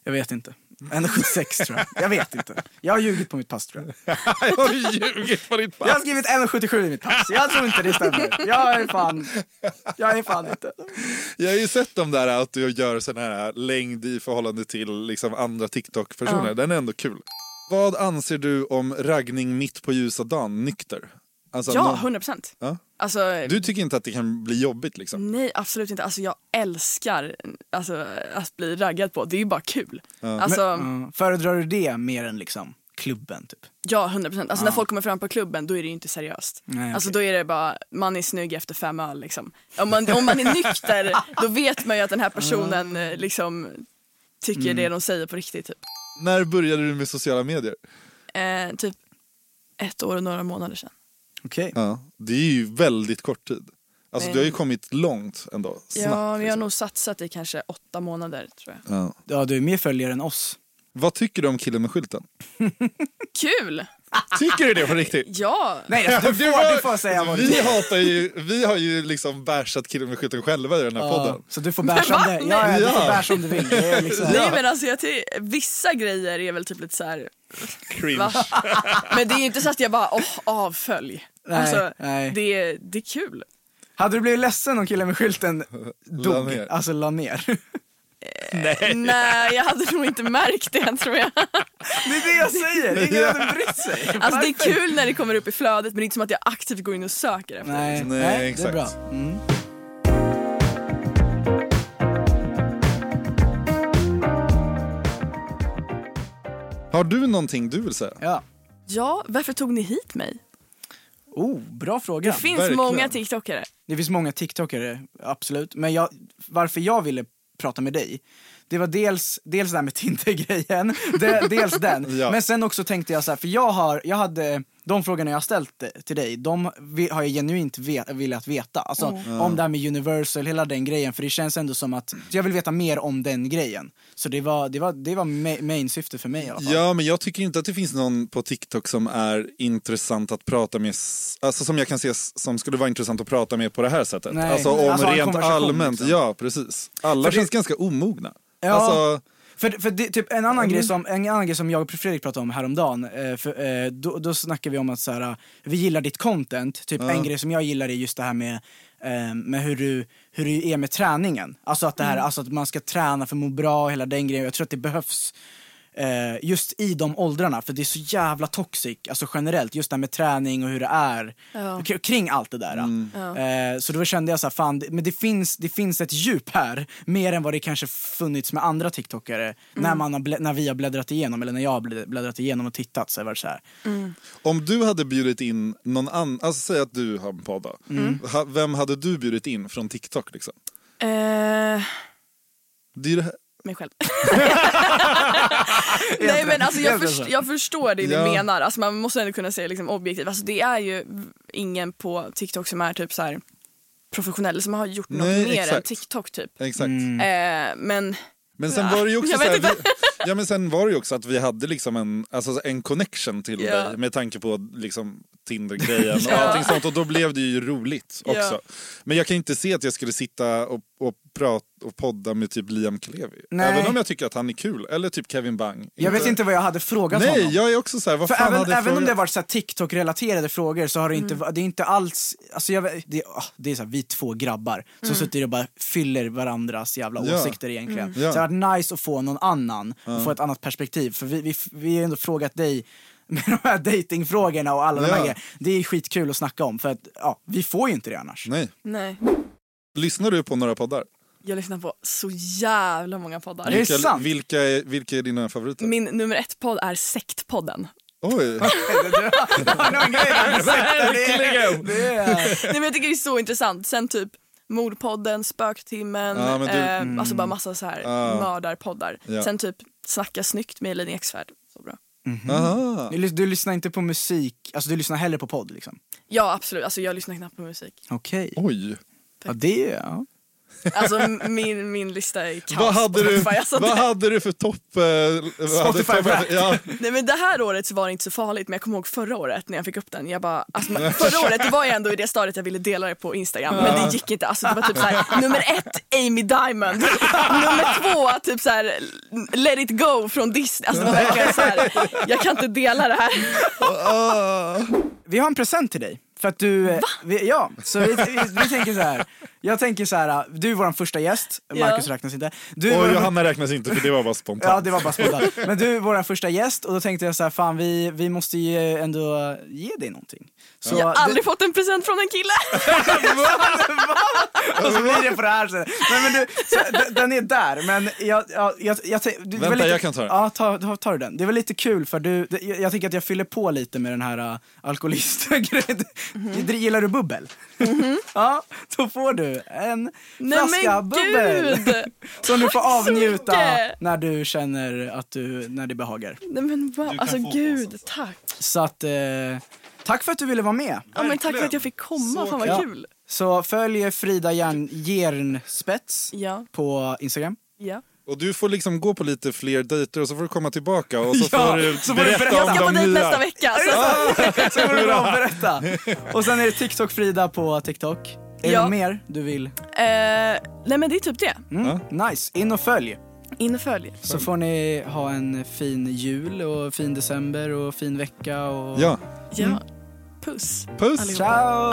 Jag vet inte. 1,76 tror jag. Jag vet inte. Jag har ljugit på mitt pass tror jag.
jag har ljugit på ditt pass.
Jag har skrivit 1,77 i mitt pass. Jag tror inte det stämmer. Jag är fan... Jag är fan inte...
Jag har ju sett de där att du gör sån här längd i förhållande till liksom andra TikTok-personer.
Ja.
Den är ändå kul. Vad anser du om raggning mitt på ljusa dagen, nykter? Alltså,
Ja,
någon-
100 procent.
Ja?
Alltså,
Du tycker inte att det kan bli jobbigt liksom?
Nej, absolut inte. Alltså, jag älskar alltså, att bli raggad på. Det är ju bara kul. Alltså,
Men, ja, föredrar du det mer än liksom klubben typ?
Ja, 100 procent. Alltså,
Ja.
När folk kommer fram på klubben då är det ju inte seriöst.
Nej,
alltså, Då är det bara, man är snygg efter fem öl. Liksom. Om, man, om man är nykter då vet man ju att den här personen eh, liksom, tycker
Mm.
det de säger på riktigt. Typ.
När började du med sociala medier?
Eh, typ ett år och några månader sedan.
Okej.
Ja. Det är ju väldigt kort tid. Alltså
Men-
du har ju kommit långt ändå. Snabbt. liksom.
ja, men jag har nog satsat i kanske åtta månader tror jag.
Ja.
Ja, du är mer följare än oss.
Vad tycker du om killen med skylten?
Kul!
Tycker du det på riktigt?
Ja!
Nej, alltså, du,
Det
får,
var-
du får säga vad du
Vi, hatar ju, vi har ju liksom bashat killen med skylten själva i den här
Ja,
podden.
Så du får bärsa om
Va?
det. Ja, ja, du får
Ja.
bärsa om du vill. Det är liksom...
Nej men alltså jag ty- vissa grejer är väl typ lite så här.
Cringe.
Va? Men det är ju inte så att jag bara åh avfölj.
Nej,
alltså,
nej.
Det, är- det är kul.
Hade du blivit ledsen om killen med skylten dog?
ner.
Alltså la ner.
Nej.
Nej jag hade nog inte märkt det än, tror jag.
Det är det jag säger, ingen hade brytt sig.
Alltså det är kul när det kommer upp i flödet men det är inte som att jag aktivt går in och söker efter det.
Nej,
Nej,
nej det är
exakt.
bra. Mm.
Har du någonting du vill säga?
Ja.
Ja, varför tog ni hit mig?
Oh, bra fråga.
Det finns många tiktokare.
Det finns många TikTokare, absolut. Men jag, varför jag ville prata med dig, det var dels, dels det här med Tinder-grejen, de, dels den.
Ja.
Men sen också tänkte jag så här, för jag har, jag hade, de frågorna jag har ställt eh, till dig, de vi- har jag genuint ve, velat veta. Alltså
Mm.
om det här med Universal, hela den grejen, för det känns ändå som att, jag vill veta mer om den grejen. Så det var, det var, det var ma- main syfte för mig i alla fall.
Ja, men jag tycker inte att det finns någon på TikTok som är intressant att prata med, s- alltså som jag kan se s- som skulle vara intressant att prata med på det här sättet.
Nej.
Alltså om
Alltså, en
rent
konversation,
allmänt,
liksom.
ja precis. Alla
För det-
känns ganska omogna.
Ja.
Alltså,
För, för det, typ en annan, grej som, en annan grej som jag och Fredrik pratade om häromdagen, eh, för, eh, då, då snackade vi om att så här, eh, vi gillar ditt content, typ
Ja.
en grej som jag gillar är just det här med, eh, med hur, du, hur du är med träningen. Alltså att, det här, alltså att man ska träna för att må bra och hela den grejen. Jag tror att det behövs eh, just i de åldrarna, för det är så jävla toxic, alltså generellt, just det här med träning och hur det är
Ja.
k- kring allt det där.
Ja.
Eh, så då kände jag så här, fan, det- men det finns, det finns ett djup här, mer än vad det kanske funnits med andra tiktokare
Mm.
när, man har blä- när vi har bläddrat igenom, eller när jag har blä- bläddrat igenom och tittat så har det varit så här.
om du hade bjudit in någon annan, alltså säg att du har en podd då.
Mm.
Ha, vem hade du bjudit in från TikTok liksom?
Eh,
Det är ju det här.
mig själv. Nej men alltså jag,
Helt
först,
rätt.
jag förstår det du
Ja.
menar. Alltså, man måste ändå kunna säga liksom, objektivt. Alltså, det är ju ingen på TikTok som är typ så här professionell som har gjort något
Nej,
mer än
exakt.
TikTok typ.
Exakt.
Mm.
Eh, men
Men sen var det ju också
Jag
så här,
vet
vi, ja, men sen var det ju också att vi hade liksom en, alltså en connection till
Ja.
dig med tanke på liksom, Tinder-grejen och
Ja.
allting sånt. Och då blev det ju roligt också.
Ja.
Men jag kan inte se att jag skulle sitta och, och prata och podda med typ Liam Klevi.
Nej.
Även om jag tycker att han är kul. Eller typ Kevin Bang.
Jag vet inte vad jag hade frågat
Nej,
honom.
jag är också så här, vad
För
fan
även,
hade jag
även om
frågat?
det har varit så här TikTok-relaterade frågor så har det inte, det är inte alls, alltså jag, vet- det, ah, det är så här, vi två grabbar som
Mm.
sitter och bara fyller varandras jävla
Ja.
åsikter egentligen.
Mm. Ja.
Så det hade varit nice att få någon annan
Ja.
och få ett annat perspektiv. För vi, vi, vi har ju ändå frågat dig med de här datingfrågorna och alla de
Ja.
här grejerna. Det är skitkul att snacka om för att ja, vi får ju inte det annars.
Nej.
Nej.
Lyssnar du på några poddar?
Jag lyssnar på så jävla många poddar.
vilka, Vilka, är, vilka är dina favoriter?
Min nummer ett podd är Sektpodden.
Oj!
Verkligen!
Nej, men jag tycker det är så intressant. Sen typ Mordpodden, Spöktimmen,
Ja, men du-
eh,
mm.
alltså bara massa så här
Ja.
mördarpoddar.
Ja.
Sen typ Snacka snyggt med Elin Eksvärd. Så bra.
Aha.
Du, lys- du lyssnar inte på musik, alltså du lyssnar hellre på podd liksom?
Ja absolut, alltså jag lyssnar knappt på musik.
Okej.
Oj.
Ja det, ja.
Alltså m- min, min lista är kaos
Vad hade,
på
du,
Spotify. Alltså,
vad
det-
hade du för topp... eh, vad hade
Spotify
topp-
Wrapped.
ja.
Nej men det här året så var det inte så farligt men jag kommer ihåg förra året när jag fick upp den. Jag bara, alltså, men förra året då var jag ändå i det stadiet jag ville dela det på Instagram men det gick inte. Alltså det var typ såhär, nummer ett Amy Diamond, nummer två typ såhär Let it go från Disney. Alltså det var verkligen såhär, jag kan inte dela det här.
Vi har en present till dig. För att du, eh, vi, ja, så vi, vi, vi tänker så här. Jag tänker så här, eh, du är vår första gäst,
Ja.
Marcus räknas inte. Du är
Och
vår-
Johanna räknas inte för det var bara spontant.
Ja det var bara spontant. Men du är vår första gäst och då tänkte jag så här, fan vi, vi måste ju ändå ge dig någonting. Så,
jag har aldrig
det,
fått en present från en kille.
och så blir det på det här sättet. Nej, men du, så, d- den är där men jag, jag, jag, jag tänk- du- det var
Vänta,
lite,
jag kan ta den.
Ja ta, ta, ta du den. Det var lite kul för du, det, jag, jag tänker att jag fyller på lite med den här uh, alkoholistgrejen.
Mhm.
Gillar du bubbel? Ja, då får du en
Nej,
flaska
men
bubbel.
gud!
Som du
Tack
får
så
avnjuta
mycket!
när du känner att du, när det behagar.
Nej men wow, alltså gud, tack.
Så att, eh, tack för att du ville vara med.
Ja, men tack för att jag fick komma, fan
Ja.
vad kul.
Så följ Frida Järn, Järnspets
Ja.
på Instagram.
Ja.
Och du får liksom gå på lite fler dejter och så får du komma tillbaka och så
Ja,
får du
så får du
berätta
berätta. Jag ska på
om de
dejt
nya.
Nästa vecka. Så.
Så får du bra berätta. Och sen är det TikTok Frida på TikTok. Är det
Ja.
något mer du vill?
Eh, nej men det är typ det.
Mm. Nice, in och följ.
In och följ.
Så får ni ha en fin jul och fin december och fin vecka och...
Ja.
Ja. Puss.
Puss.
Ciao.